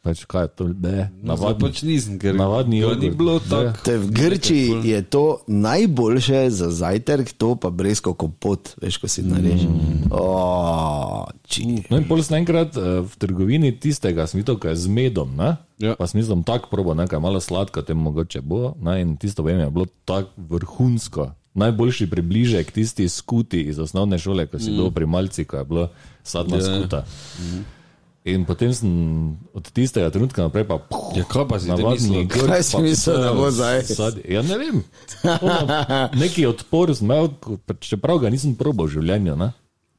Pač kaj je to, ne,
Navadno
navadni.
pač nisem, ker
navadni
ga ni
jogurt.
bilo
Ja.
tako.
Te v Grčiji je to najboljše za zajtrk, to pa brezko kompot, veš, ko si narežeš.
Mm.
Oh,
No in pol sem enkrat eh, v trgovini tistega, sem videl, kaj je z medom, ne?
Ja.
Pa sem mislil, tako probo, nekaj malo sladka, tem mogoče bo, ne? In tisto vem je bilo tako vrhunsko. Najboljši približek tisti skuti iz osnovne šole, ko
Mm.
si bil pri malci, ko je bilo sadna
Ja,
yeah. skuta.
Mhm.
In potem sem od tistega trenutka naprej pa puh,
Ja, kaj pa si te mislil?
grd,
Kaj si
pa
mislil,
vse
da bo zdaj?
sad- Ja, ne vem. Ono, Neki odpor sem imel, ko- čeprav ga nisem probal v življenju. Ne?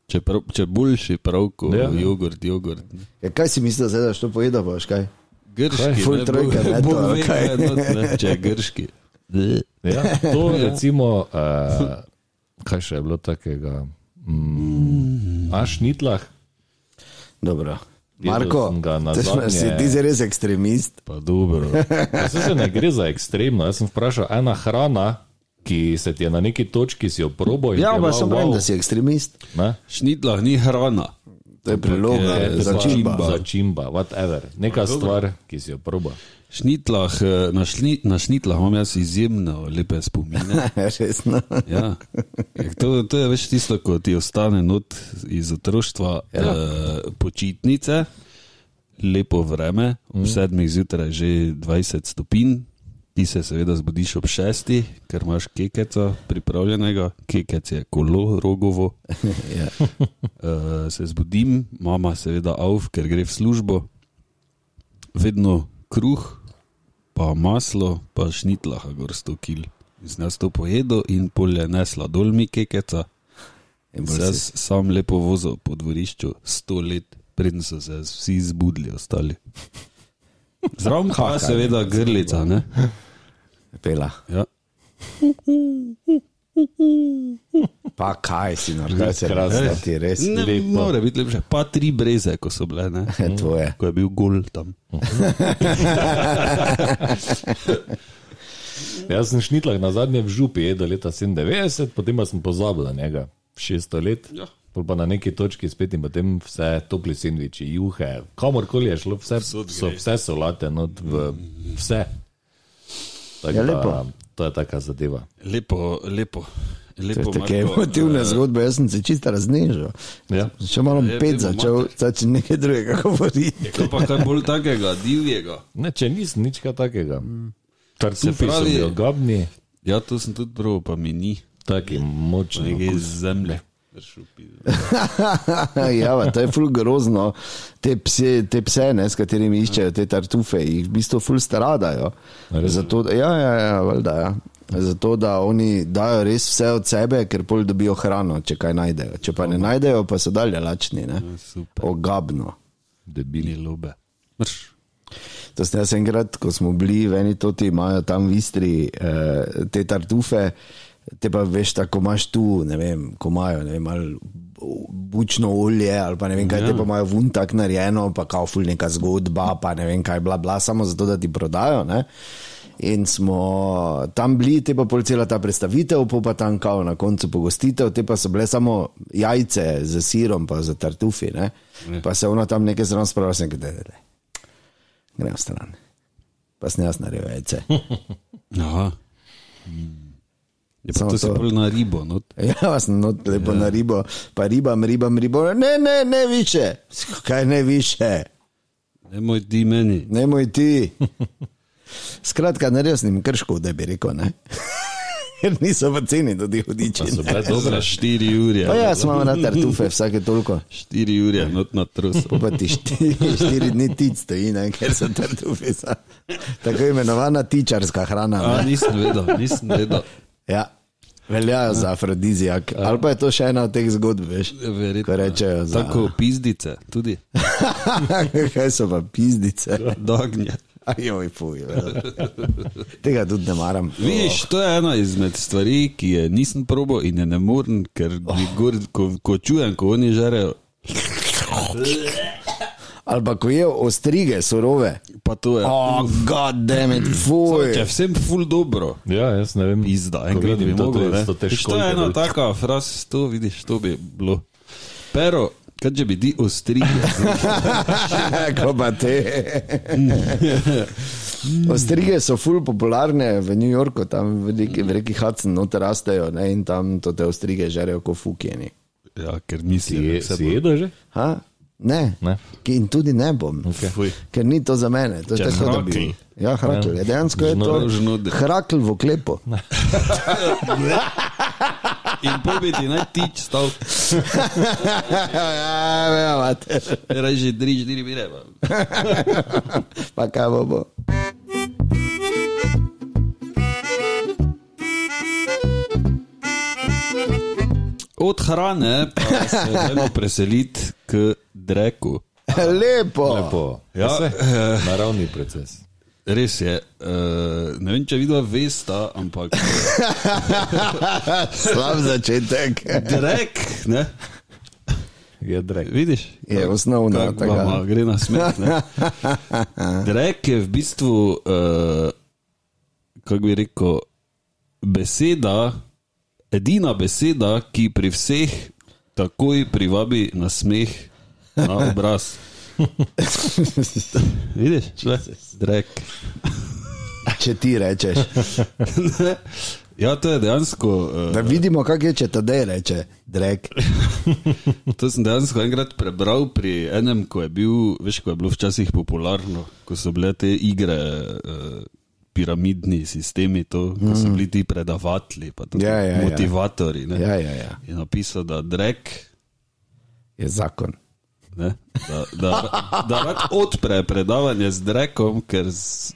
Če, prav, če boljši prav, kot
Ja.
ja. jogurt, jogurt.
ja, kaj si misliš, zdaj, da si to pojedel, boš kaj?
Grški,
Full
ne,
trojka,
bo-
ne,
bo
to,
vedno
kaj?
enot, ne, če je grški.
Ja, to je recimo, uh, kaj še je bilo takega, mm, a šnitlah.
Dobro.
Jedel
Marko,
sem ga na
te
zadnje.
smo- si ti si res ekstremist.
Pa dobro. Vse se ne gre za ekstremno. Jaz sem vprašal, ena hrana, ki se ti je na neki točki si jo probo in
Ja,
ti je
pa
bila
sem
wow,
rekel, da si ekstremist.
ne?
Šnitlah ni hrana.
To je priloga,
Je pa
Eh, začimba.
Začimba, whatever. Neka stvar, ki si jo probo.
Šnitlah, eh, na, šni, na šnitlah imam jaz izjemno lepe spomine.
Resno.
Ja. Ja, To, to je več tisto, ko ti ostane not iz otroštva, ja. eh, počitnice, lepo vreme, ob sedmih zjutraj je že 20 stopinj, ti se seveda zbudiš ob šestih, ker imaš kekeca pripravljenega, kekec je kolo, rogovo.
Ja.
Eh, se zbudim, mama seveda avf, ker gre v službo, vedno kruh, pa maslo, pa šnitlaha gor 100 kil. In sem jaz to pojedel in polje nesla dol mi kekeca.
In bolj
Jaz
si-
sam lepo vozil po dvorišču 100 let, preden so se vsi zbudili ostali. Zraven pa seveda grlica, ne?
Pela.
Ja.
Pa kaj si naredil, da se
Krasno.
razgledati, res.
Ne more biti lepše, pa tri breze, ko so bile, ne?
Tvoje.
Ko je bil gol tam.
Jaz sem šnitlah na zadnje v župi jedel leta 97, potem pa sem pozabil na njega 600 let. Ja. Pa na neki točki spet in potem vse topli sendviči, juhe, kamorkoli je šlo, vse, so, vse solate, not, v, vse. Tako
Ja,
da,
lepo.
To je taka zadeva.
Lepo, lepo.
To je
lepo
Take
Marko, eh,
emotivne zgodbe, jaz sem se čisto raznežil.
eh, Ja.
Še malo
Ja,
pet
dajmo
začel, zdaj če nekaj drugega govori.
eh, Kaj pa kaj bolj takega, divjega?
Ne, če nisem nič kaj takega. Tartufi so
pravi-
bili ogabni,
Ja, to sem tudi prav, pa mi ni.
taki močni.
Nekaj iz zemlje. Ršupi.
ja, pa, to je ful grozno. Te pse, te pse ne, s katerimi iščejo te tartufe, jih v bistvu ful stradajo. Zato, da- ja, ja, ja, valjda, ja. Zato, da oni dajo res vse od sebe, ker pol dobijo hrano, če kaj najdejo. Če pa ne najdejo, pa so dalje lačni. Ne?
Super.
Ogabno. e
Debili lobe. Mrš.
To ste jaz enkrat, ko smo bili v eni toti, imajo tam v Istri eh, te tartufe, te pa veš, tako imaš tu, ne vem, ko imajo, ne vem, ali bučno olje ali pa ne vem kaj, te pa imajo vun tak narejeno, pa kao ful neka zgodba, pa ne vem kaj, bla bla, samo zato, da ti prodajo, ne. In smo tam bili, te pa pol cela ta predstavitev, pol pa tam kao na koncu pogostitev, te pa so bile samo jajce z sirom, pa za tartufi, ne. Pa se ono tam nekaj zraven spravlja, sem gledal grem stran. Pa sem jaz naredil vejce.
Aha. Je pa
Samo
to se
to.
bolj na ribo, no.
Ja, sem not lepo na ribo, pa ribam, ribam, ribo. Ne, ne, ne više. Kaj ne više,
Ne moj di meni.
ne moj ti. Skratka, naredil sem jim krško, da bi rekel. Ne? Ker niso v ceni, da ti hudiči.
So bile
Dobra,
dobre.
štiri urje.
Pa jaz imam na tartufe vsake toliko.
Štiri urje, not na trus.
Pa ti štiri, štiri dni tic stoji, ne? ker so tartufe. sa- Tako imenovana tičarska hrana. ne.
A, nisem vedel, nisem vedel.
Ja, veljajo za afrodizijak. Ali pa je to še ena od teh zgodb, veš?
Ja. Verjetno.
Ko rečejo za
Tako pizdice, tudi.
Kaj so pa pizdice?
Dognje.
Ajoj, fuj. velja. Tega tudi ne maram.
Vidiš, to je ena izmed stvari, ki je nisem probo in je ne morem, ker mi gor, ko, ko čujem, ko oni žarejo,
Ali pa ko je ostrige, surove.
pa to je.
Oh, god damn it,
Samo, Če je
fuj.
vsem ful dobro.
Ja, jaz ne vem.
Pizda,
ko
enkrat bi
vidim to
mogel.
te-
ne.
to te
Viš, To
školjke
je ena
dol.
taka fraz, to vidiš, to bi bilo. Pero, Kaj če bi ti ostrili?
Ko pa te. Ostrige so ful popularne v New Yorku, tam v neki veliki Hudson noter rastejo ne, in tam to te ostrige žerejo kot fukjeni.
Ja, ker mislijo, da
Je,
se
si jedo že?
Ha? Ne.
Ne.
Ki- In tudi ne bom,
Fuj.
ker ni to za mene. To je
Čez
tako, da
Hrakl.
bi. Ja, hrakl. Ja, dejansko je to
žnude.
hrakl v klepu.
In pobiti naj tič stav,
ja, ja, mater.
reži, driž, diri, bire. pa.
pa kaj bo bo.
Od hrane pa se dajmo preseliti k dreku.
Lepo.
Lepo.
Ja,
Ja,
eh.
naravni proces.
Res je, uh, ne vem, če vidva veste, ampak eh,
Slab začetek.
drek, ne,
Je drek.
vidiš?
Je osnovna,
Kako
No, tako.
vama Gre na smer. Drek je v bistvu, uh, kako bi rekel, beseda, edina beseda, ki pri vseh takoj privabi na smeh, na obraz. Vidiš, tle? drek.
Če ti rečeš,
Ja, to je dejansko. eh,
da vidimo, kako je, če tadej reče, drek.
To sem dejansko enkrat prebral pri enem, ko je bil, veš, ko je bilo včasih popularno, ko so bile te igre, eh, piramidni sistemi, to, ko so bili ti predavatelji, pa
Mm.
tudi
Ja, ja, ja.
motivatori. Ne,
Ja, ja, ja.
Je napisal, da drek.
Je zakon.
Ne, da, da, da rad odpre predavanje z drekom, ker z,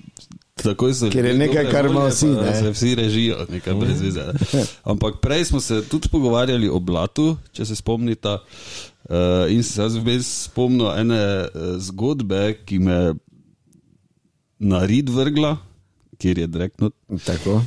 takoj so
Ker je
ljudje
nekaj,
dobre
kar
volje,
ima vsi,
pa
ne.
Se vsi režijo, nekaj brez vize. ne. Ampak prej smo se tudi pogovarjali o blatu, če se spomnite. Uh, in se jaz vmes spomnim ene eh, zgodbe, ki me na rid vrgla, kjer je dreknut.
Tako.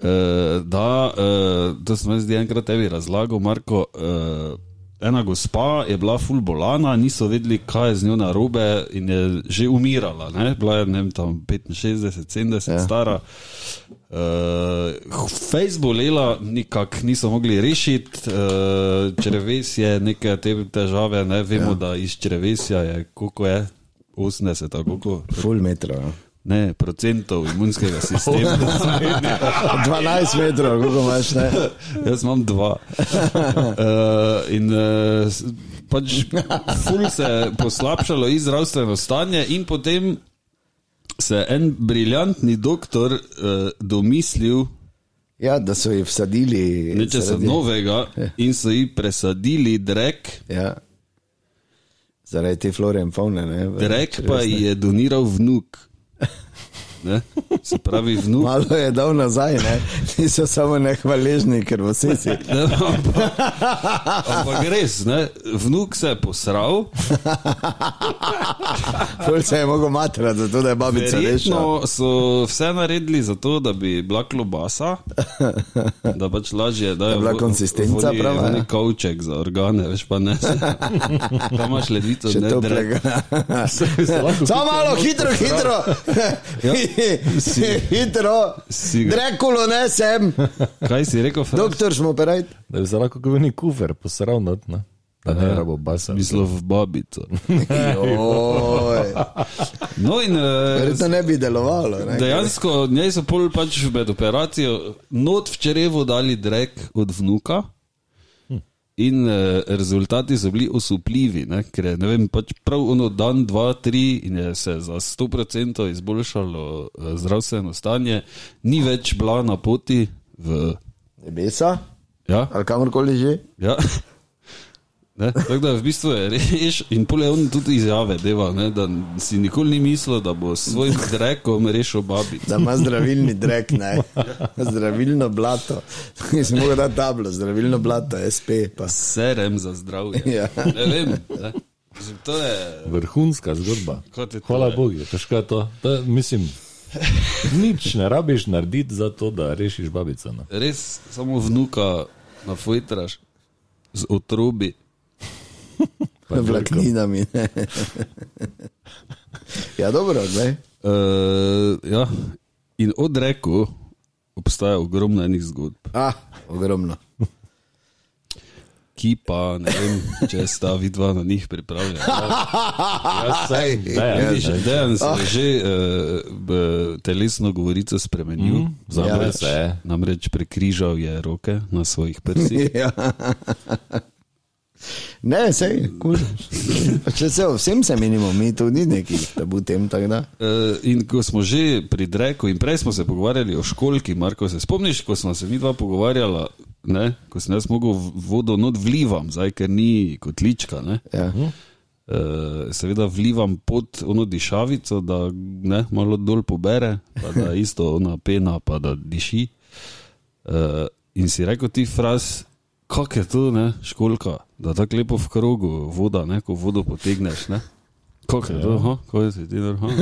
Eh, da, eh, to sem jaz zdaj enkrat tebi razlagal, Marko. eh, Ena gospa je bila fulbolana, niso vedeli, kaj je z njo narobe, in je že umirala. Ne? Bila je ne vem, tam 65, 70 ja. stara. Uh, Fejs bolela, nikak niso mogli rešiti, uh, črevesje, neke te težave, ne vemo, ja. da iz črevesja je koliko je, 80, ali koliko
Full metro. ja.
ne, procentov imunskega sistema.
12 metrov, kako imaš, ne?
Jaz imam dva. Uh, in uh, pač ful se je poslabšalo iz zdravstveno stanje, in potem se je en briljantni doktor uh, domislil
Ja, da so jih vsadili.
nečesa
zaradi-
novega in so ji presadili drek.
Ja. Zaradi te flore in faune, ne?
Drek pa ji je doniral vnuk. Ne? Se pravi, vnuk
Malo je dal nazaj, ne? Niso samo nehvaležni, ker vsi si.
Ne, ampak, ampak res, ne? vnuk se je posral,
Ful se je mogel matrati, zato da je babica rešila.
verjetno so vse naredili za to, da bi bila klobasa, da pač lažje, da je
bila konsistenca prava, ja.
Nek kavček za organe, veš pa ne. Tam imaš ledvico,
Če
ne
to
drek.
plega.
Lahko
Samo malo, hitro, hitro.
si-
hitro.
Ja. si ga.
Drekulo ne sem,
Kaj si rekel, Frank?
doktor smo operajt.
Da bi se lahko kot neki kufer posral not, ne? Da ne rabo basa.
Mislil v babico.
Joj.
No in eh,
Verjetno ne bi delovalo. Ne?
dejansko njej so pol pač med operacijo not v črevu dali drek od vnuka. In eh, rezultati so bili osupljivi, ne? ker je ne vem, pač prav ono dan, dva, tri in je se za 100% izboljšalo eh, zdravstveno stanje, ni več bila na poti v.
Nebesa
Ja,
ali kamorkoli že.
ja. Ne? Tako da v bistvu je reš in pol je on tudi izjave deva, ne? da si nikoli ni mislil, da bo s svojim drekom rešil babico.
Da ima zdravilni drek, ne. zdravilno blato. Nisem mogel dati tablo, zdravilno blato, SP. Pa.
serem za zdravje.
Ja.
Ne vem. Ne? Mislim, to je.
Vrhunska zgodba.
Kot je to,
Hvala
ne.
Bogu, težko je to. to je, mislim, nič ne rabiš narediti za to, da rešiš babico. No.
Res samo vnuka na fojtraš z otrobi.
Pa je
Vlakninami. ne. Ja, dobro, ne.
Uh, ja. In od reku obstaja ogromno enih zgodb,
Ah, ogromno.
ki pa ne vem, če sta vidva na njih pripravljena.
Jaz sem, da,
Ja,
ja,
vidiš, Dejan se je že uh, b, telesno govorico spremenil, mm,
ja,
namreč,
se je.
namreč prekrižal je roke na svojih prsih.
Ja. Ne, sej, kul. Če se o vsem se menimo, mi tu ni nekih tabu tem, tako da.
Eh, In ko smo že pri Dreku, in prej smo se pogovarjali o školki, Marko, se spomniš, ko smo se mi dva pogovarjala, ne? ko sem jaz mogel v- vodo not vlivam, zdaj ker ni kotlička. Ne?
Ja.
Eh, Seveda vlivam pod ono dišavico, da ne, malo dol pobere, pa da isto ona pena, pa da diši. Eh, In si rekel ti fraz. Kako je to, ne, školka, da tako lepo v krogu voda, ne, ko vodo potegneš. Ne? Kako je to, aha, kako je ti normalno?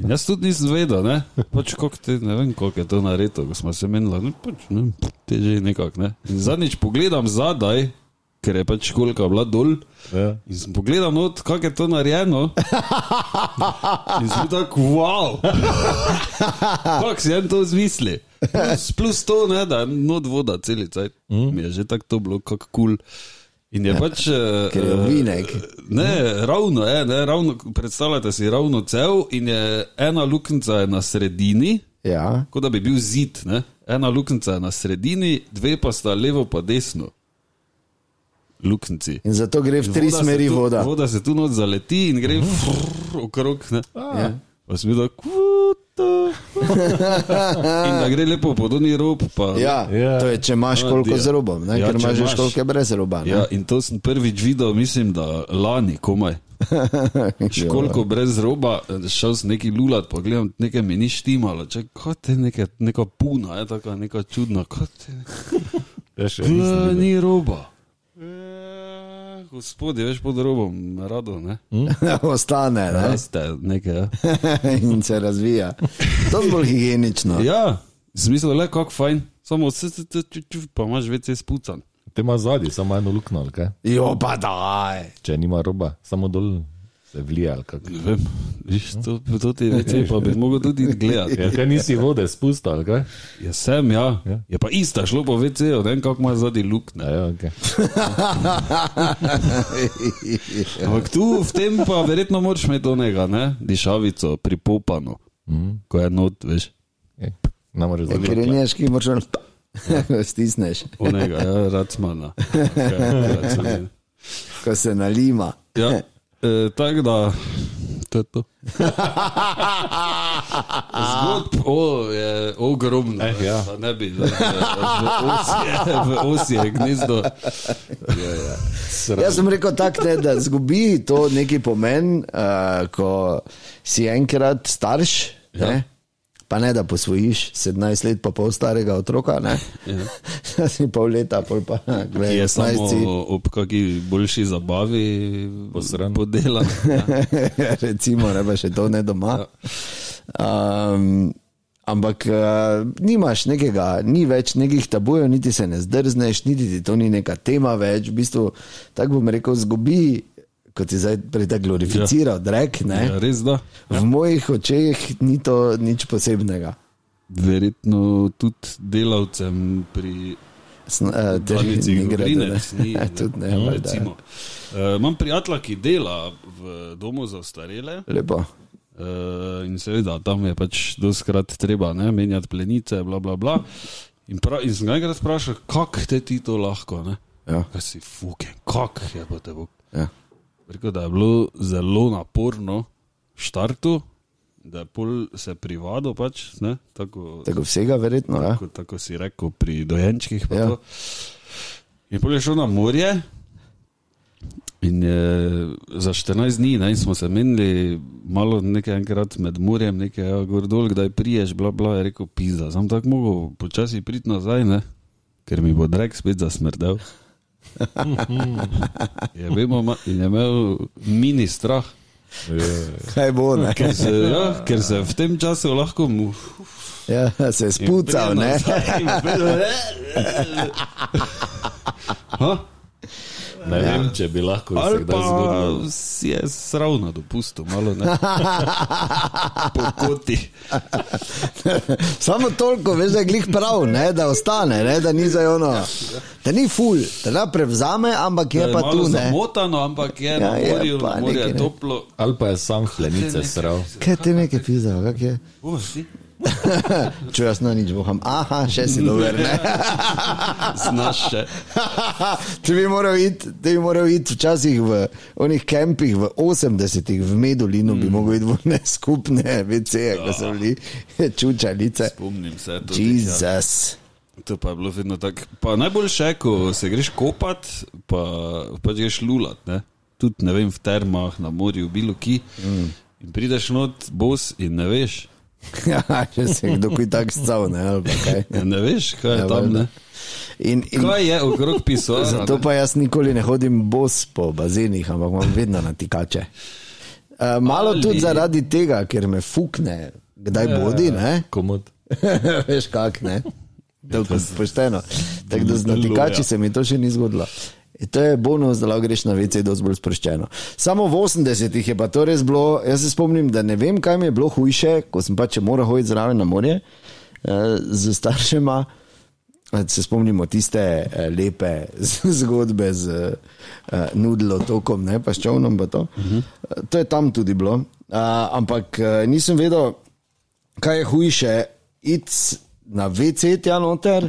In Jaz tudi nisem vedel, ne, pač kako te, ne vem, kako je to naredilo, ko smo se menili, no, pač, ne, vem, te že nekako. Ne. In zadnjič pogledam zadaj, ker je pač školka bila dol.
ja.
In sem pogledal, not, kako je to narejeno. In sem tako, wow, kako si en to zmisli. Plus, plus to, ne, da je not voda celica. Mm. Mi je že tako to bilo, kako kul. Cool. In je pač. eh,
Ja, Ker je ovinek.
Ne, ravno je, ne, ravno, predstavljate si ravno cel in je ena luknjica je na sredini,
Ja.
kot da bi bil zid. Ne. Ena luknjica je na sredini, dve pa sta levo pa desno. Luknjici.
In zato gre v tri
Voda se
smeri
tu-
voda.
Voda se tu not zaleti in gre frrr okrog. Ne?
Ja.
Pa sem videl, kuto. In da gre lepo pod oni rob. Pa,
Ja,
Ja.
to je, če imaš koliko
Ja.
z robom, ne,
Ja,
ker
če
imaš že
imaš.
koliko brez roba. ne.
ja, in to sem prvič videl, mislim, da lani, komaj.
Ja.
Školko brez roba, eh, šel sem neki lulat, pa gledam, nekaj mi ni štimalo, če kot je neke, neka puna, je taka neka čudna, kot je neka.
Ja, še nisem
Kla,
videl.
ni roba. Eh, Gospodje, veš pod robom, rado, ne?
Ostane ne?
Raste nekaj. ja.
in se razvija. To je bolj higienično.
Ja, smisel je le kako fajn, samo vse se te čuti, pa imaš več spucan.
Te ima zadnji, samo eno luknjo, ali kaj?
Jo, pa daj.
če nima roba, samo dol se vlija. ali kako.
Ne vem, viš, to, to ti je več, No. pa bi mogel tudi gledati.
Ja, kaj nisi vode spustil, ali kaj?
Ja, sem, ja.
Ja.
Je pa ista, šlo po VC-ju, ne vem, kako ima zadnji
Ja,
luknje.
ja, okay.
Ja,
Ampak tu v tem pa verjetno moraš imeti onega, ne, dišavico, pripopano,
Mhm,
ko je not, veš,
ja. Namreč
Ja, Ker je neški močno stisneš,
onega, ja, racmana. Okay, racmana.
ko se nalima.
Ja, e, tako da, to je to. Zgodb o, je ogromno, eh,
ja.
ne bi zdaj, v osje, v osje gnezdo.
Jaz sem rekel tako, ne, da zgubi to neki pomen, uh, ko si enkrat starš. Ja. Ne? Pa ne, da posvojiš 17 let, pa pol starega otroka, ne. Ja. si pol leta, pol pa gledaj,
Je
16
samo
si,
ob kaki boljši zabavi
Posran.
podela.
recimo, ne pa še to ne
Ja.
doma. Um, ampak uh, nimaš nekega, ni več nekih tabujev, niti se ne zdrzneš, niti ti to ni neka tema več. V bistvu, tako bom rekel, zgubi, kot je zdaj prej tako glorificiral, ja. drek. Ne?
Ja, res da.
V mojih očeh ni to nič posebnega.
Verjetno tudi delavcem pri
Sn- eh, te-
Danici
ni grede,
Gregorec,
ne.
ni
Tudi ne,
Ja,
valjda,
recimo. Eh, Imam prijatelja, ki dela v domu za starele.
ja. Lepo.
Uh, in seveda tam je pač doskrat treba ne, menjati plenice, bla, bla, bla. In, pra, in sem ga enkrat vprašal, kako te ti to lahko, ne?
Ja.
Kaj si fucking, kako je pa te bo.
Ja.
Rekel, da je bilo zelo naporno v štartu, da je pol se privado pač, ne, tako,
Tako vsega, verjetno. Ja?
tako, tako si rekel pri dojenčkih.
Ja.
Ja. In pol je šel na morje. In je, za 14 dni ne, in smo se menili, malo nekaj enkrat med morjem, nekaj ja, gor dol, kdaj priješ, bla bla, je rekel pizda. Sam tako mogel počasi priti nazaj, ne? ker mi bo drek spet zasmrdel. je, vemo, ma- in je imel mini strah,
Kaj bo, ne?
ker se, ja, ker se v tem času lahko mu
Ja, se je spucal, ne?
ja, Pridem nazaj in pridem, eh, eh. Ha?
Ne ja. vem, če bi lahko se
Ali
kdaj
pa
zgodilo.
si je sravno dopustil, malo ne. po poti.
Samo toliko, veš, da je glih prav, ne, da ostane, ne, da ni za ono. Da ni ful, da ne prevzame, ampak Ja. je pa tu ne.
zamotano, ampak je ja, na
je
morju, je,
pa
na morju
nekaj,
je
ne.
toplo.
Ali pa je sam hlenice sral.
Kaj ti nekaj pizda, kak je?
O, si
Če jaz na nič boham, aha, še si dober, ne.
Znaš še.
ti bi moral iti, ti bi moral iti včasih v onih kampih v 80-ih, v Medulinu mm. bi mogel iti v ne skupne VC-je, ko so bili čučalice.
Spomnim se. Tudi, ja.
Jezus.
To pa je bilo vedno tako. Pa najbolj še, ko se greš kopat, pa pač greš lulat, ne? tudi ne vem, v termah, na morju, bilo ki. Mm. In prideš not, bos in ne veš.
Ja, če se je kdo kuj tak stal, ne, ali pa kaj.
Ja, Ne veš, kaj je tam. Ne?
In, in
Kaj je okrog pisal?
zato pa jaz nikoli ne hodim bos po bazenih, ampak imam vedno natikače. Uh, malo
Ali- Ja,
Ali... tudi zaradi tega, ker me fukne, kdaj bodi, ne?
Komod.
Veš kak, ne? To je pošteno. Tako da z natikači se mi to še ni zgodilo. E, To je bonus, da lahko greš na VC, da je bolj sproščeno. Samo v 80-ih je pa to res bilo. Jaz se spomnim, da ne vem, kaj mi je bilo hujše, ko sem pač moral hoditi zraven na morje eh, z staršema. Eh, Se spomnimo tiste eh, lepe z- zgodbe z eh, nudlo, tokom, ne pa s čovnom. Pa to. Eh, to je tam tudi bilo. Eh, ampak eh, nisem vedel, kaj je hujše, iti na VC tja noter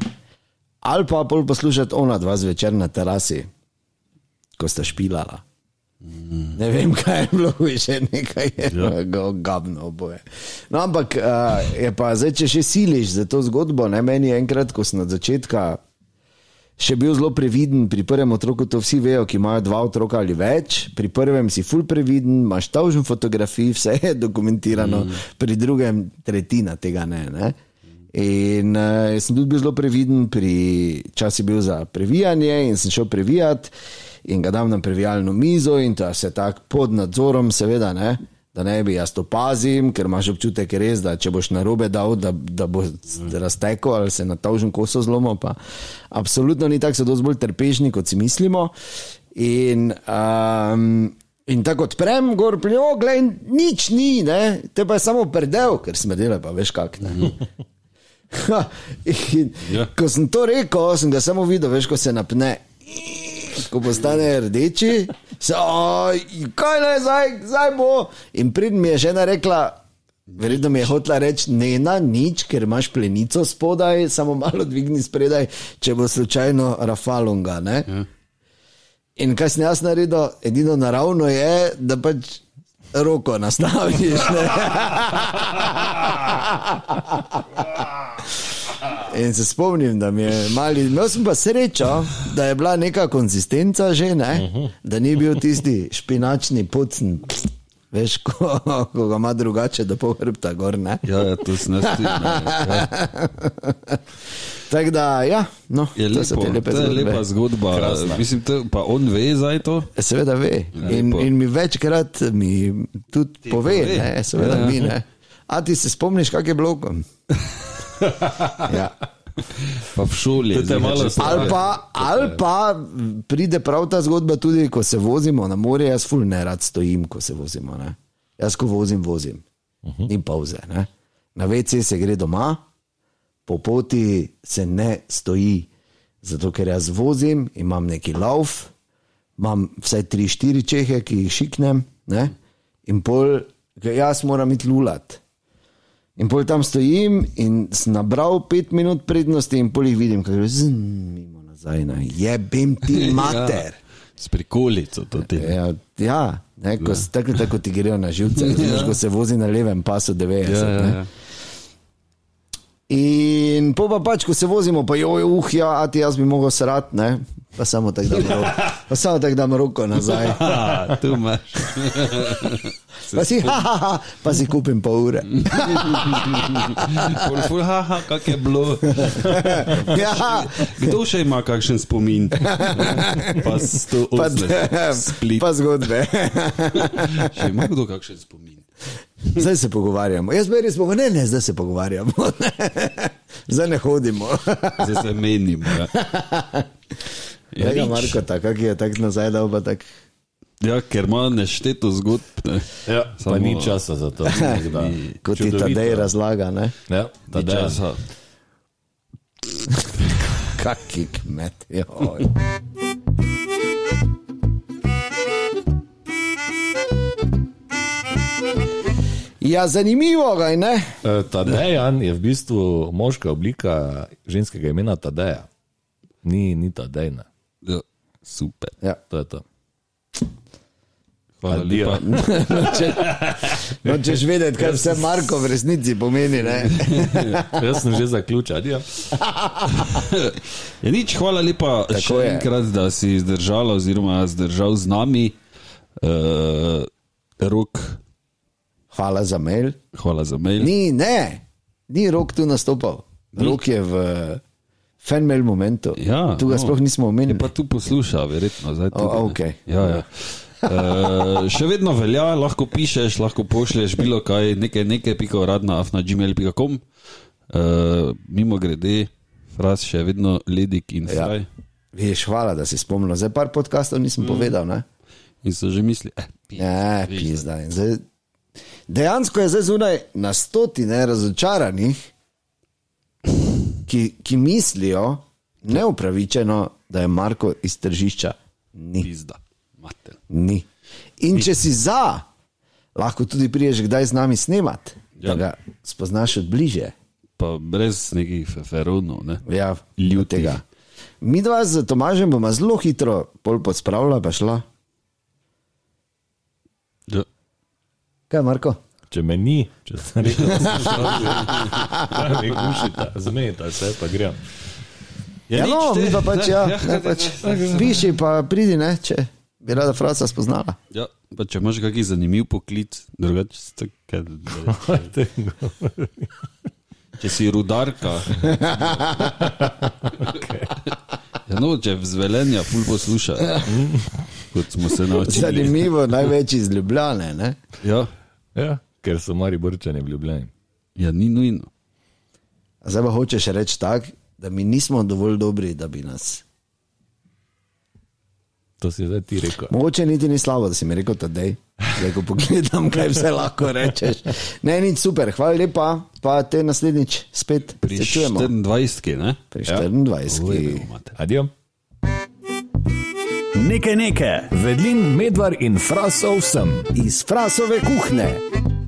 ali pa bolj poslušati ona dva zvečer na terasi, ko sta špilala. Ne vem, kaj je bilo hujše, nekaj je bilo gabno oboje. No, ampak uh, je pa zdaj, če še siliš za to zgodbo, ne meni je enkrat, ko sem od začetka še bil zelo previden pri prvem otroku, to vsi vejo, ki imajo dva otroka ali več. Pri prvem si ful previden, imaš tažen fotografij, vse je dokumentirano, mm. pri drugem tretjina tega ne. ne? In uh, sem tudi bil zelo previden, pri, čas je bil za previjanje in sem šel previjati in ga dam na previjalno mizo in to je vse tako pod nadzorom, seveda ne. Da ne bi jaz to pazil, ker imaš občutek res, da če boš na robe dal, da, da bo raztekel ali se na tožen koso zlomil. pa Absolutno ni tako, so dosti bolj trpežni, kot si mislimo. In, um, in tako odprem, gor pljo, glej, nič ni, ne? te pa je samo predel, ker smrdele pa veš kak. Ne? Ha, in,
Ja.
ja. Ko sem to rekel, sem ga samo videl, veš, ko se napne. Ko postane rdeči, se oj, kaj naj zdaj, zdaj bo. In prid mi je že ena rekla, verjetno mi je hotla reči, ne na nič, ker imaš plenico spodaj, samo malo dvigni spredaj, če bo slučajno rafalonga. Ne? Ja. In kaj sem jaz naredil, edino naravno je, da pač roko nastaviš. Ne? In se spomnim, da mi je mali, imel sem pa srečo, da je bila neka konsistenca že, ne? da ni bil tisti špinačni pucn, veš, ko, ko ga ima drugače, da pol hrbta gor. Ne?
Ja, ja, to se ne strinja.
Tako da, ja, no,
Je
to so
lepo,
te lepe
to je
zgodbe.
lepa zgodba. Krasna. Mislim, to, pa on ve zdaj to.
Seveda ve. In,
Lepo.
in mi večkrat mi tudi Ti pove,
pove.
pove. Ne, seveda
Ja, ja.
ja. mi ne. A ti se spomniš, kak je bilo? Ja.
Pa v šoli. je
To te
zdaj,
malo
če-
sra-
Ali pa, ali pa pride prav ta zgodba tudi, ko se vozimo na morje. Jaz ful ne rad stojim, ko se vozimo. Ne? Jaz, ko vozim, vozim. Uh -huh. Ni pauze. Ne? Na VC se gre doma, po poti se ne stoji. Zato, ker jaz vozim, imam neki lauf, imam vsaj tri, štiri čehe, ki jih šiknem, ne? in pol, ker jaz moram iti lulat. In pol tam stojim in sem nabral pet minut prednosti, in pol jih vidim, kako je zimno nazaj. Ne. Jebem ti
Ja.
mater.
S prikolico to ti.
Ja, ja ne, ko, s- tako, tako ti grejo na živce, razumeš, ko se vozi na levem pasu 90.
Ja,
ne.
ja, ja.
In pol pa pač, ko se vozimo, pa joj, uh, ja, a ti jaz bi mogel srat, ne? pa samo tako dam roko, pa samo tako dam roko nazaj.
Ha, tu imaš.
Pa si, ha, ha, ha, pa si kupim pol ure.
Pol ful, ha, ha, kak je bilo.
Ja,
Kdo še ima kakšen spomin? Pa 108.
pa,
Split.
pa zgodbe.
Še ima kdo kakšen spomin?
Zdaj se pogovarjamo. Jaz bi res povedal, ne, ne, zdaj se pogovarjamo. Zdaj ne hodimo.
Zdaj se menimo. Ja.
Ja, ja Marko, tako je, tako nazaj dal pa tako.
Ja, ker ima nešteto zgodb. Ne.
Ja, Samo... Pa ni časa za to. tako da.
Kot ti
Čudovito.
tadej razlaga, ne?
Ja,
Ni
Tadeja.
časa.
Kaki kmet. joj. Ja, zanimivo ga je, ne?
Eh, Tadejan je v bistvu moška oblika ženskega imena Tadeja. Ni, ni Tadejna.
Ja, super.
Ja.
To je to.
Hvala
Adijo.
lepa.
Nočeš No, vedeti, kaj vse Marko v resnici pomeni, ne?
Jaz sem že zaključil. Ja.
Ja, nič, hvala lepa Tako še
je.
je. enkrat, da si zdržala, oziroma zdržal z nami. Uh, rok,
Hvala za mail.
hvala za mail.
Ni, ne, ni rok tu nastopal. Rok je v fenomenalnem momentu.
Ja,
tu ga
no.
sploh nismo
Je
omenili.
pa tu posluša, verjetno. zdaj
O,
tudi, ne.
okej.
Ja, ja. Uh, še vedno velja, lahko pišeš, lahko pošlješ bilo kaj, nekaj, nekaj, pika uradna, afna gmail.com. Uh, mimo grede, fraz še vedno ledik in
Ja.
fraj.
Veš, hvala, da si spomnil. Zdaj par podkastov nisem mm. povedal. Ne,
In so že mislili, eh, pi-
ne Ja, pizda. In Zdaj, dejansko je zdaj zunaj na stotine razočaranih, ki, ki mislijo neupravičeno, da je Marko iz tržišča. Ni.
pizda, mater.
Ni. In če si za, lahko tudi priješ kdaj z nami snemati, ja. da
Ja.
ga spoznaš od bliže.
Pa brez nekih feferonov, ne?
Ja,
Ljutih.
tega. Mi dva z Tomažem bomo zelo hitro pol podspravila, pa šla.
Ja.
Kaj, Marko?
Če me ni, če sem rekel, da sem šel, ne kušite, zmejte se, pa grem.
Ja, no,
nič,
mi
te.
pa pač, ja, ne,
kaj te-
pač. Piši, pa pridi, ne, če bi rada Franca spoznala.
Ja, pa če imaš kakšen zanimiv poklic, drugače si tak, kaj da- Če si rudarka. ja, no, če vzvelenja ful posluša, kot smo se naučili.
Zanimivo, največ iz Ljubljane, ne.
Ja,
Ja, ker so mari borčani v Ljubljani.
ja ni nujno.
A Zdaj pa hočeš reči tako, da mi nismo dovolj dobri, da bi nas.
To si zdaj ti rekel.
Mogoče niti ni slabo, da si mi rekel, da je. Zdaj, ko pogledam, kaj vse lahko rečeš. Ne, nič super, hvala lepa, pa te naslednjič spet
Pri
pričujemo.
24, ne?
Pri
Ja.
24.
Ujebe, mate.
Adijo.
Nekaj nekaj. Vedlin, medvar in frasov sem.
Iz frasove kuhne.